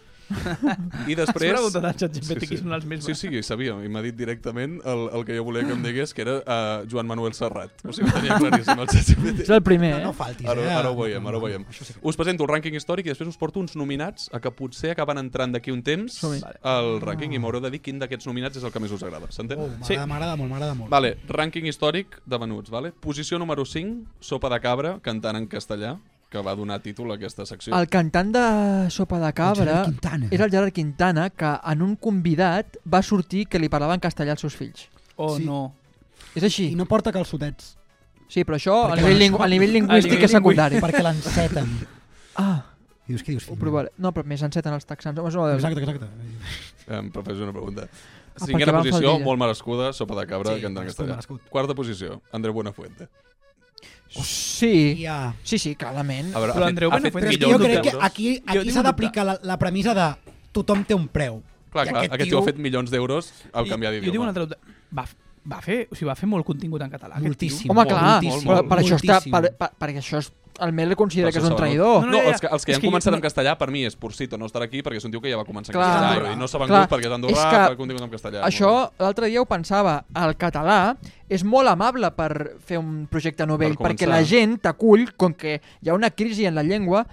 S1: I després...
S8: Has preguntat al ChatGPT qui són els més
S1: Sí, sí, sabia. I m'ha dit directament el, el que jo volia que em digués, que era uh, Joan Manuel Serrat. O sigui, ho tenia claríssim, el xat GPT.
S2: És el primer, No, eh? no
S3: faltis,
S1: Ara,
S3: eh?
S1: ara ho veiem, ara ho veiem. Us presento el rànquing històric i després us porto uns nominats a que potser acaben entrant d'aquí un temps
S3: Som-hi.
S1: al rànquing i m'haureu de dir quin d'aquests nominats és el que més us agrada. S'entén?
S3: Oh, m'agrada, m'agrada molt, m'agrada molt.
S1: Vale, rànquing històric de venuts, vale? Posició número 5, Sopa de Cabra, cantant en castellà, que va donar títol a aquesta secció.
S2: El cantant de Sopa de Cabra era el Gerard Quintana que en un convidat va sortir que li parlava en castellà als seus fills.
S8: Oh, no.
S2: És així. I
S3: no porta calçotets.
S2: Sí, però això a
S3: Perquè
S2: nivell,
S3: l'en-
S2: lingu a nivell
S3: A
S2: lingüístic
S3: nivell
S2: és secundari.
S3: lingüí- perquè l'enceten.
S2: Ah.
S3: Dius, què dius,
S2: Ho provaré. No, però més enceten els texans. Home, no,
S3: Exacte, exacte.
S1: Em prefes una pregunta.
S2: Ah, perquè
S1: Cinquena
S2: va en
S1: posició,
S2: faldilla.
S1: molt merescuda, Sopa de Cabra,
S2: Sí,
S1: cantant en
S2: merescut,
S1: castellà.
S2: merescut.
S1: Quarta posició, Andreu Buenafuente.
S2: Sí.
S3: Ja.
S2: Sí, sí, clarament.
S1: A veure, Però ha fet- Andreu ha fet Buenafuente-
S3: Però és que
S1: millor
S3: jo crec
S1: dubte.
S3: que aquí,
S1: Jo
S3: aquí
S1: tinc
S3: s'ha
S1: un
S3: d'aplicar la, la premissa de tothom té un preu.
S1: Clar,
S3: I
S1: clar, aquest tio ha fet milions d'euros al canviar
S8: Jo tinc un
S1: d'idioma.
S8: altre dubte. Va, va, fer, o sigui, va fer molt contingut en català. aquest tio.
S2: Home, clar, però per, això està, per, per, perquè això és, el Mel le considera que és un traïdor.
S1: No, no, els que, els que ja han començat en castellà, per mi és Porcito no estar aquí perquè és un tio que ja va començar en
S2: Clar.
S1: castellà i no s'ha vengut
S2: Clar,
S1: perquè és
S2: és
S1: andorrà,
S2: que
S1: perquè contingut en castellà.
S2: Això,
S1: molt
S2: l'altre dia ho pensava, el català és molt amable per fer un projecte
S1: Per
S2: novell,
S1: començar.
S2: perquè la gent t'acull, com que hi ha una crisi en la llengua,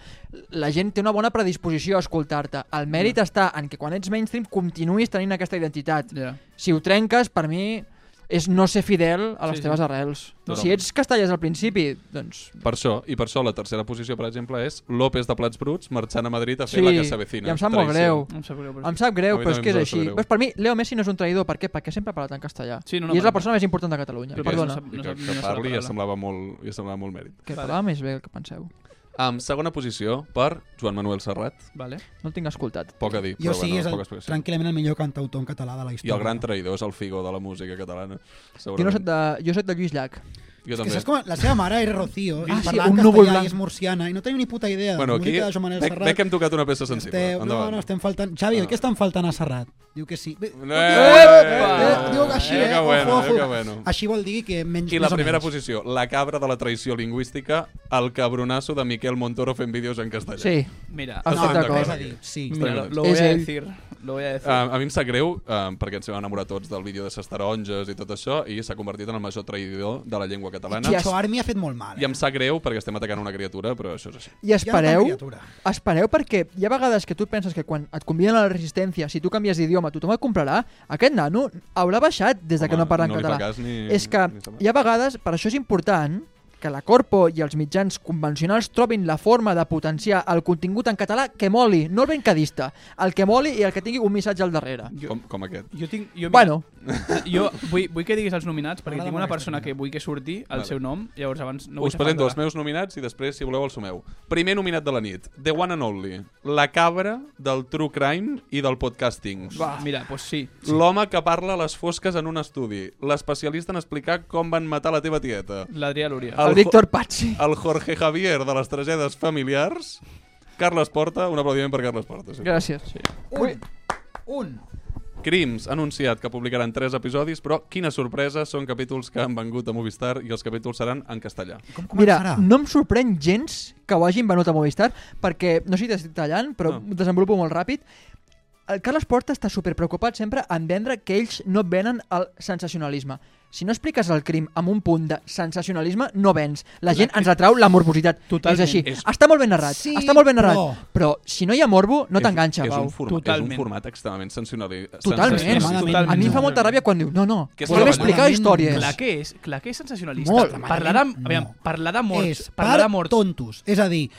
S2: la gent té una bona predisposició a escoltar-te. El
S1: Mm.
S2: mèrit està en que quan ets mainstream continuïs tenint aquesta identitat. Si ho trenques, per mi, és no ser fidel a
S8: Sí,
S2: les
S8: sí.
S2: teves arrels.
S1: Totalment.
S2: Si ets castellà des del principi, doncs...
S1: bé. Per això, i per això la tercera posició, per exemple, és López de Plats Bruts marxant a Madrid a fer
S2: Sí,
S1: la que s'avecina.
S2: i em sap molt greu.
S1: Traïció.
S8: Em sap greu, però
S2: Em sap greu,
S1: A mi
S2: però és
S1: també
S2: que
S1: em
S2: és
S1: sap
S2: així.
S1: greu.
S2: Veus, per mi, Leo Messi no és un traïdor. Per què? Perquè sempre ha parlat en castellà.
S8: Sí, no, no,
S2: I és la
S8: per-
S2: persona més important de Catalunya.
S1: I que-
S2: Perdona.
S1: i que, que parli ja semblava molt, ja semblava molt mèrit.
S2: Que parlava més bé el que penseu.
S1: Um, segona posició per Joan Manuel Serrat.
S8: Vale.
S2: No el tinc escoltat.
S1: Poc a dir,
S3: Jo
S1: però
S3: sí,
S1: bueno,
S3: és
S1: poca
S3: el,
S1: explicació.
S3: tranquil·lament el millor cantautor en català de la
S1: I
S3: història.
S1: el gran traïdor és el figó de la música catalana.
S2: Jo, no soc de, jo soc de Lluís Llach.
S1: Jo
S3: Que
S1: també.
S3: saps com la seva mare era Rocío,
S2: Ah,
S3: i
S2: sí,
S3: parlava
S2: un
S3: en
S2: núvol
S3: castellà
S2: blanc.
S3: i és murciana, i no tenia ni puta idea.
S1: Bueno,
S3: de
S1: aquí
S3: música de Joan Manuel
S1: veig,
S3: Serrat.
S1: veig que hem tocat una peça sensible.
S3: Esteu, no,
S1: Endavant.
S3: no, estem faltant... Xavi, de què estan faltant a Serrat? Diu que sí. Bé,
S1: No,
S3: eh, diu així,
S1: eh,
S3: eh?
S1: que bueno,
S3: ojo, ojo.
S1: eh, que bueno.
S3: Així vol dir que menys...
S1: I la
S3: més o
S1: primera
S3: menys.
S1: posició, la cabra de la traïció lingüística, el cabronasso de Miquel Montoro fent vídeos en castellà. Eh,
S2: Sí.
S8: Mira,
S1: Estem
S8: no,
S1: d'acord.
S8: és a dir, sí.
S1: Estem
S8: Mira,
S1: d'acord.
S8: lo voy a És ell. decir, lo voy a decir.
S1: Ah, a mi em sap greu, ah, perquè ens vam enamorar tots del vídeo de ses taronges i tot això, i s'ha convertit en el major traïdor de la llengua catalana.
S3: Qui Xo Armi ha fet molt
S12: eh?
S3: mal.
S1: I em sap greu perquè estem atacant una criatura, però això és així.
S2: I espereu, espereu perquè hi ha vegades que tu penses que quan et conviden a la resistència, si tu canvies d'idioma, tothom et comprarà, aquest nano haurà baixat des de que
S1: Home,
S2: no parla en
S1: no li fa
S2: català.
S1: cas ni-
S2: és que
S1: ni se'n va.
S2: hi ha vegades, per això és important, que la Corpo i els mitjans convencionals trobin la forma de potenciar el contingut en català que moli, no el bencadista, el que moli i el que tingui un missatge al darrere.
S1: Com, com aquest.
S8: Jo tinc... Jo,
S2: Bueno.
S8: Jo vull, vull que diguis els nominats, perquè
S1: M'agrada
S8: tinc
S1: molt
S8: una
S1: aquesta
S8: persona que vull que surti el
S1: Vale.
S8: seu nom, llavors abans no
S1: Us presento els meus nominats i després, si voleu, el sumeu. Primer nominat de la nit, The One and Only, la cabra del true crime i del podcasting.
S8: Va, mira, doncs sí.
S1: L'home que parla a les fosques en un estudi, l'especialista en explicar com van matar la teva tieta.
S8: L'Adrià Lúria.
S2: El Víctor Pazzi.
S1: El Jorge Javier de les tragèdies familiars. Carles Porta, un aplaudiment per Carles Porta. Sí.
S2: Gràcies. Sí. Un. Un.
S1: Crims, ha anunciat que publicaran 3 episodis, però quina sorpresa, són capítols que han vengut a Movistar i els capítols seran en castellà.
S2: Mira, no em sorprèn gens que ho hagin venut a Movistar, perquè, no sé si t'estic tallant, però
S1: No.
S2: no. desenvolupo molt ràpid. El Carles Porta està super preocupat sempre en vendre que ells no venen al sensacionalisme. Si no expliques el crim amb un punt de sensacionalisme, no vens. La gent ens atrau la morbositat.
S8: Totalment.
S2: És així.
S8: És-
S2: Està molt ben narrat.
S8: Sí,
S2: està molt ben narrat.
S8: però-
S2: Però, si no hi ha morbo, no t'enganxa,
S1: és,
S2: Pau.
S1: un forma, és un format extremament sancionari.
S2: Totalment. A mi em fa molta ràbia quan diu, no, no,
S1: Que és
S2: volem
S1: fenomenal.
S2: explicar històries.
S8: Clar que és, clar que és sensacionalista.
S2: Molt.
S8: Parlar de, aviam, parlar de morts,
S12: és
S8: parlar
S12: per
S8: de morts.
S12: tontos. És a dir,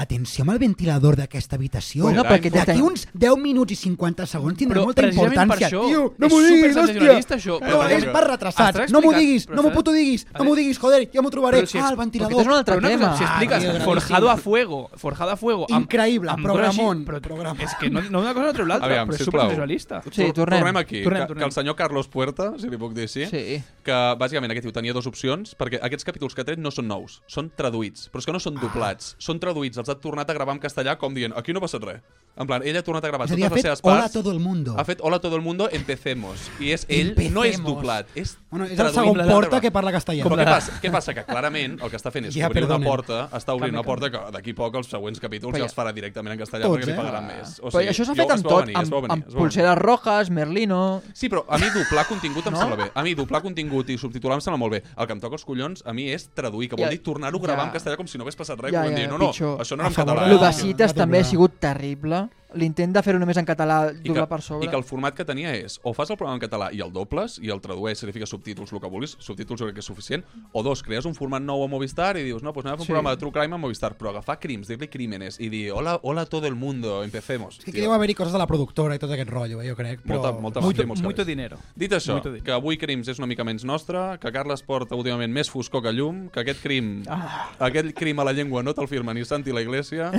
S12: atenció amb el ventilador d'aquesta habitació.
S8: Bueno, perquè té-
S12: D'aquí uns 10 minuts i 50 segons tindrà
S8: Però
S12: molta
S8: precisament per
S12: importància.
S8: això
S12: tio, no
S8: és
S12: m'ho diguis,
S8: supersensacionalista, això.
S12: No,
S8: Però-
S12: és per
S8: Està
S12: retrasats. No m'ho
S8: explicat,
S12: diguis,
S8: però
S12: no m'ho
S8: està-
S12: puto diguis, no m'ho diguis, joder, ja m'ho trobaré.
S8: Però si
S12: ah,
S8: es-
S12: el ventilador.
S8: perquè però una cosa, Si expliques
S12: Ah, tio,
S8: forjado a
S12: gravíssim.
S8: fuego, forjado a fuego...
S12: Increïble,
S8: coses així,
S12: programón,
S8: Però, És que no, no una cosa no treu l'altra,
S1: Aviam,
S8: però és
S1: sisplau.
S8: supersensacionalista.
S1: Tor- Tornem aquí, tornem, que, tornem. que el senyor Carlos Puerta, si li puc dir així,
S8: Sí.
S1: que bàsicament aquest tio tenia dues opcions, perquè aquests capítols que ha tret no són nous, són traduïts, però és que no
S12: Ah.
S1: són doblats, són traduïts, els ha tornat a gravar en castellà com dient, aquí no ha passat res. En plan, ell ha tornat a gravar
S12: És a
S1: totes
S12: dir, ha
S1: les
S12: fet
S1: seves
S12: hola
S1: parts.
S12: a todo el mundo.
S1: Ha fet hola a todo el mundo, empecemos. I és ell, no és
S12: Empecemos.
S1: doblat, és
S12: Bueno, és el
S1: traduït
S12: segon
S1: de
S12: Porta
S1: català.
S12: que parla castellà.
S1: Però
S12: Com
S1: què
S12: la-
S1: passa? Què passa? Que clarament el que està fent és
S12: Ja,
S1: obrir
S12: perdonen.
S1: una porta, està obrint
S12: Canvi,
S1: una porta que d'aquí a poc els següents capítols
S2: Però
S1: ja
S2: ja-
S1: els farà directament en castellà
S2: Tots,
S1: perquè li
S2: eh?
S1: pagaran més. O
S2: Però això
S1: jo-
S2: s'ha fet
S1: es
S2: amb
S1: va
S2: tot,
S1: venir, es
S2: amb,
S1: va venir, es va
S2: amb
S1: venir.
S2: pulseres rojas, merlino...
S1: Sí, però a mi doblar contingut em
S2: No?
S1: no? sembla bé. A mi doblar contingut i subtitular em sembla molt bé. El que em toca els collons a mi és traduir, que vol
S2: Ja,
S1: dir tornar-ho a gravar
S2: ja.
S1: en castellà com si no hagués passat res.
S2: Ja,
S1: Ja,
S2: ja,
S1: ja, dir, no, no,
S2: pitjor.
S1: això no era
S2: A
S1: en
S2: favor,
S1: català. eh?
S2: Lo de
S1: Sí.
S2: Cites també ha sigut terrible. L'intent de fer-ho només en català,
S1: I que,
S2: doblar per sobre.
S1: I que el format que tenia és o fas el programa en català i el dobles i el tradueix, significa subtítols, el que vulguis, subtítols jo crec que és suficient, o dos, crees un format nou a Movistar i dius, no, doncs anem a fer
S12: Sí.
S1: un sí. programa de True Crime a Movistar, però agafar crims, dir-li crímenes i dir, hola, hola a todo el mundo, empecemos.
S12: que deu haver-hi coses de la productora i tot aquest rotllo, eh, jo crec. Però...
S1: Molta, molta màfia i molts cabells. Dit això, que avui Crims és una mica menys nostra, que Carles porta últimament més foscor que llum, que aquest crim,
S12: Ah.
S1: aquell crim a la llengua no te'l firma ni Santi la Iglesia,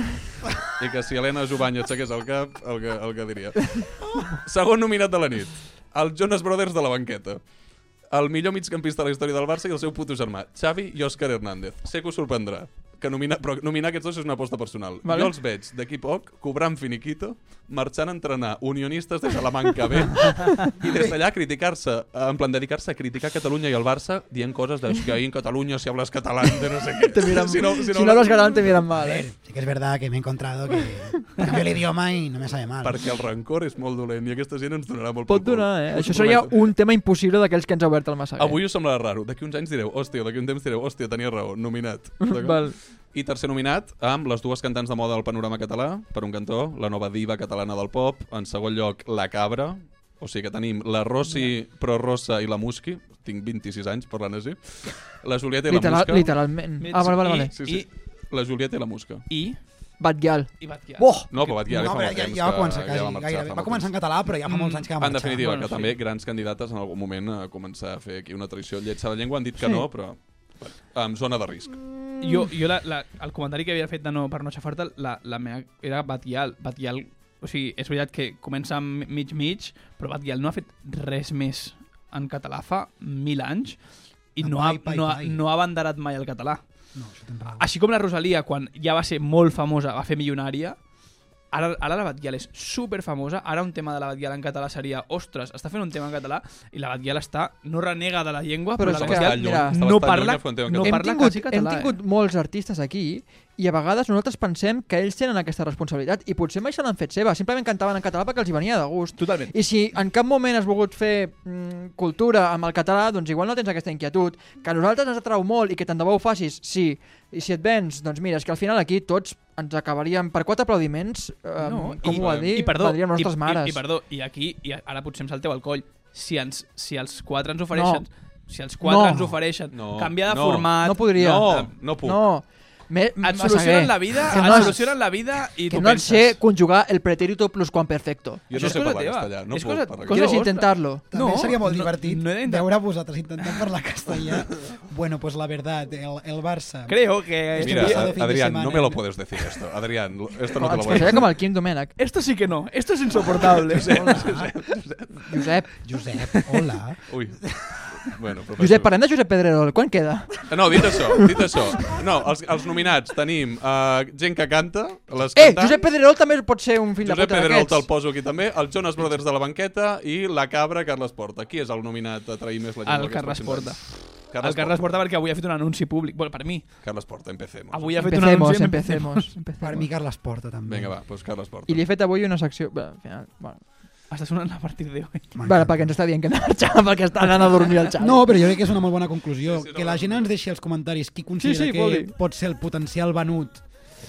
S1: i que si Helena Jubany aixequés el cap, el que, el que diria. Segon nominat de la nit, el Jonas Brothers de la banqueta. El millor migcampista de la història del Barça i el seu puto germà, Xavi i Òscar Hernández. Sé que us sorprendrà, que nominar, però nominar aquests dos és una aposta personal.
S12: Vale.
S1: Vale. Jo els veig d'aquí poc cobrant finiquito, marxant a entrenar unionistes des de la manca B i des d'allà criticar-se, eh, en plan dedicar-se a criticar Catalunya i el Barça dient coses de "És que ahir en Catalunya si hablas català de no sé què.
S2: Te miran- si no hablas catalán, te miran mal, eh?
S12: Sí que és verdad que m'he encontrado que canvio l'idioma i no me sabe mal.
S1: Perquè el rancor és molt dolent i aquesta gent ens donarà molt
S2: Pot
S1: pel cul.
S2: donar, eh?
S1: Us
S2: Això
S1: ho
S2: seria
S1: prometo.
S2: un tema impossible d'aquells que ens ha obert el Massaguer.
S1: Avui us semblarà raro. D'aquí uns anys direu, hòstia, d'aquí un temps direu, hòstia, tenia raó, nominat. D'acord?
S2: Val.
S1: I tercer nominat, amb les dues cantants de moda del panorama català, per un cantó, la nova diva catalana del pop, en segon lloc, La Cabra, o sigui que tenim la Rossi, Pro Rosa i la Musqui, tinc 26 anys parlant així, la Julieta i
S2: Literal-
S1: la Musca...
S2: literalment. Ah, vale, vale, vale.
S1: Sí, sí. La Julieta i la Musca.
S8: I?
S2: Batguial.
S12: Oh!
S1: No, però Batguiar
S12: No,
S1: ja fa
S12: però
S1: molt
S12: ja-
S1: temps
S12: ja va
S1: que-
S12: començar quasi,
S1: marxar
S12: gairebé.
S1: fa
S12: Va
S1: molt
S12: començar en
S1: temps. Mm,
S12: català, però ja fa molts anys que va
S1: En
S12: marxar.
S1: definitiva,
S12: Bueno,
S1: que
S12: sí.
S1: també grans candidates en algun moment a començar a fer aquí una traïció lletja de la llengua. Han dit que
S8: Sí.
S1: no, però bueno, en zona de risc.
S2: Mm.
S8: Jo, jo la, la, el comentari que havia fet de no, per no xafar-te, la, la meva era Batial. Batial, o sigui, és veritat que comença amb mig-mig, però Batial no ha fet res més en català fa mil anys i no ha,
S12: pai,
S8: no, ha,
S12: pai.
S8: no ha abanderat mai el català.
S1: Ah,
S8: Així com la Rosalia, quan ja va ser molt famosa, va fer milionària, ara, ara la Batguial és super famosa, ara un tema de la Batguial en català seria ostres, està fent un tema en català i la Batguial està, no renega de la llengua,
S2: Però
S8: però,
S2: és
S8: la
S2: que,
S8: Batguial
S2: mira,
S8: no,
S2: no
S8: parla, no
S2: hem
S8: parla
S2: tingut,
S8: quasi català. eh?
S2: Hem tingut molts artistes aquí i a vegades nosaltres pensem que ells tenen aquesta responsabilitat i potser mai se l'han fet seva, simplement cantaven en català perquè els hi venia de gust.
S8: Totalment.
S2: I si en cap moment has volgut fer mm, cultura amb el català, doncs igual no tens aquesta inquietud, que a nosaltres ens atrau molt i que tant de bo ho facis, sí. I si et vens, doncs mira, és que al final aquí tots ens acabaríem per quatre aplaudiments, eh, no, com ho va dir,
S8: i perdó,
S2: valdríem nostres
S8: i,
S2: mares.
S8: I, I perdó, i aquí, i ara potser em salteu al coll, si, ens, si els quatre ens ofereixen...
S2: No.
S8: Si els quatre
S2: No.
S8: ens ofereixen
S2: No,
S8: canviar de
S2: no.
S8: format...
S2: No podria.
S8: No,
S1: no
S2: puc. Mm, No. Me,
S8: Et solucionen la vida,
S2: Que
S8: et
S2: no és-
S8: solucionen la vida i
S2: que
S8: tu
S2: no et
S8: penses.
S2: sé conjugar el pretérito plus quan perfecto.
S1: Jo no sé parlar castellà, no
S8: és
S1: puc
S8: cosa-
S1: parlar
S2: Quieres
S8: vostra.
S2: intentarlo?
S3: També seria molt
S8: no-
S3: divertit
S8: no he d'intentar-
S3: veure vosaltres intentant parlar castellà. bueno, pues la verdad, el, el Barça.
S8: Creo que-
S1: Mira,
S3: Este pasado
S1: Ad-
S3: fin de
S1: Adrián,
S3: semana-
S1: no me lo puedes decir esto. Adrián, lo- esto no te lo voy
S2: Ens
S1: a
S2: passaria
S1: decir.
S2: com el Quim Domènech.
S8: Esto sí que no. Esto es insoportable.
S1: Josep,
S2: Josep.
S3: Josep, hola.
S1: Ui. Bueno, professor.
S2: Josep, parlem de Josep Pedrerol. Quan queda? Eh,
S1: No, dit això, dit això. No, els, els nominats tenim uh, gent que canta, les
S2: Eh,
S1: cantants.
S2: Josep Pedrerol també pot ser un fill de
S1: Josep
S2: puta
S1: Pedrerol te'l
S2: d'aquests.
S1: poso aquí també, el Jonas Brothers de la banqueta i la cabra Carles Porta. Qui és el nominat a trair més la gent?
S8: El
S1: d'aquests
S8: Carles
S1: pròxims
S8: Porta.
S1: anys?
S8: El Carles Porta perquè avui ha fet un anunci públic. Bueno, per mi.
S1: Carles Porta, empecemos.
S8: Avui ha fet
S2: Empecemos,
S8: un anunci... en
S2: empecemos, empecemos.
S3: Per mi Carles Porta, també.
S1: Vinga, va, doncs Carles Porta.
S2: I li he fet avui una secció... Bé, al final, bueno.
S8: Està sonant a partir de hoy.
S2: Bueno, perquè ens està dient que hem de marxar, perquè està anant a dormir el xat.
S3: No, però jo crec que és una molt bona conclusió. Que la gent ens deixi als comentaris qui considera
S2: sí, vol
S3: que
S2: dir.
S3: pot ser el potencial venut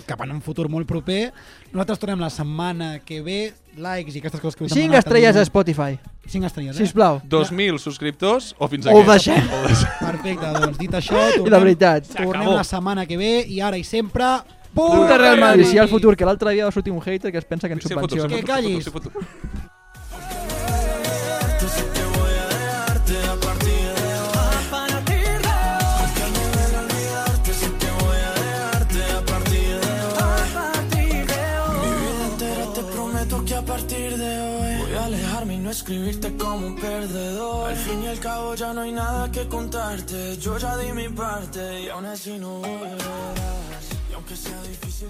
S3: cap en un futur molt proper. Nosaltres tornem la setmana que ve. Likes i aquestes coses que us
S2: 5 estrelles a Spotify.
S3: 5 estrelles, eh?
S2: Sisplau.
S1: 2.000 subscriptors o fins
S2: Ho
S1: aquí? eh?
S2: deixem.
S1: Ho deixem.
S3: Perfecte, doncs dit això,
S2: I la
S3: tornem,
S2: veritat.
S3: tornem
S2: S'acabó.
S3: la setmana que ve i ara i sempre...
S2: Puta Real Madrid. I si al futur, que l'altre dia va sortir un hater que es pensa que ens
S3: Sí, al futur, sí, al
S2: subvenciona.
S3: futur, Que callis. al futur,
S10: Mi vida entera te prometo que a partir de hoy voy a alejarme y no escribirte como un perdedor. Al fin y al cabo ya no hay nada que contarte. Yo ya di mi parte y aún así no volverás. Y aunque sea difícil. ya-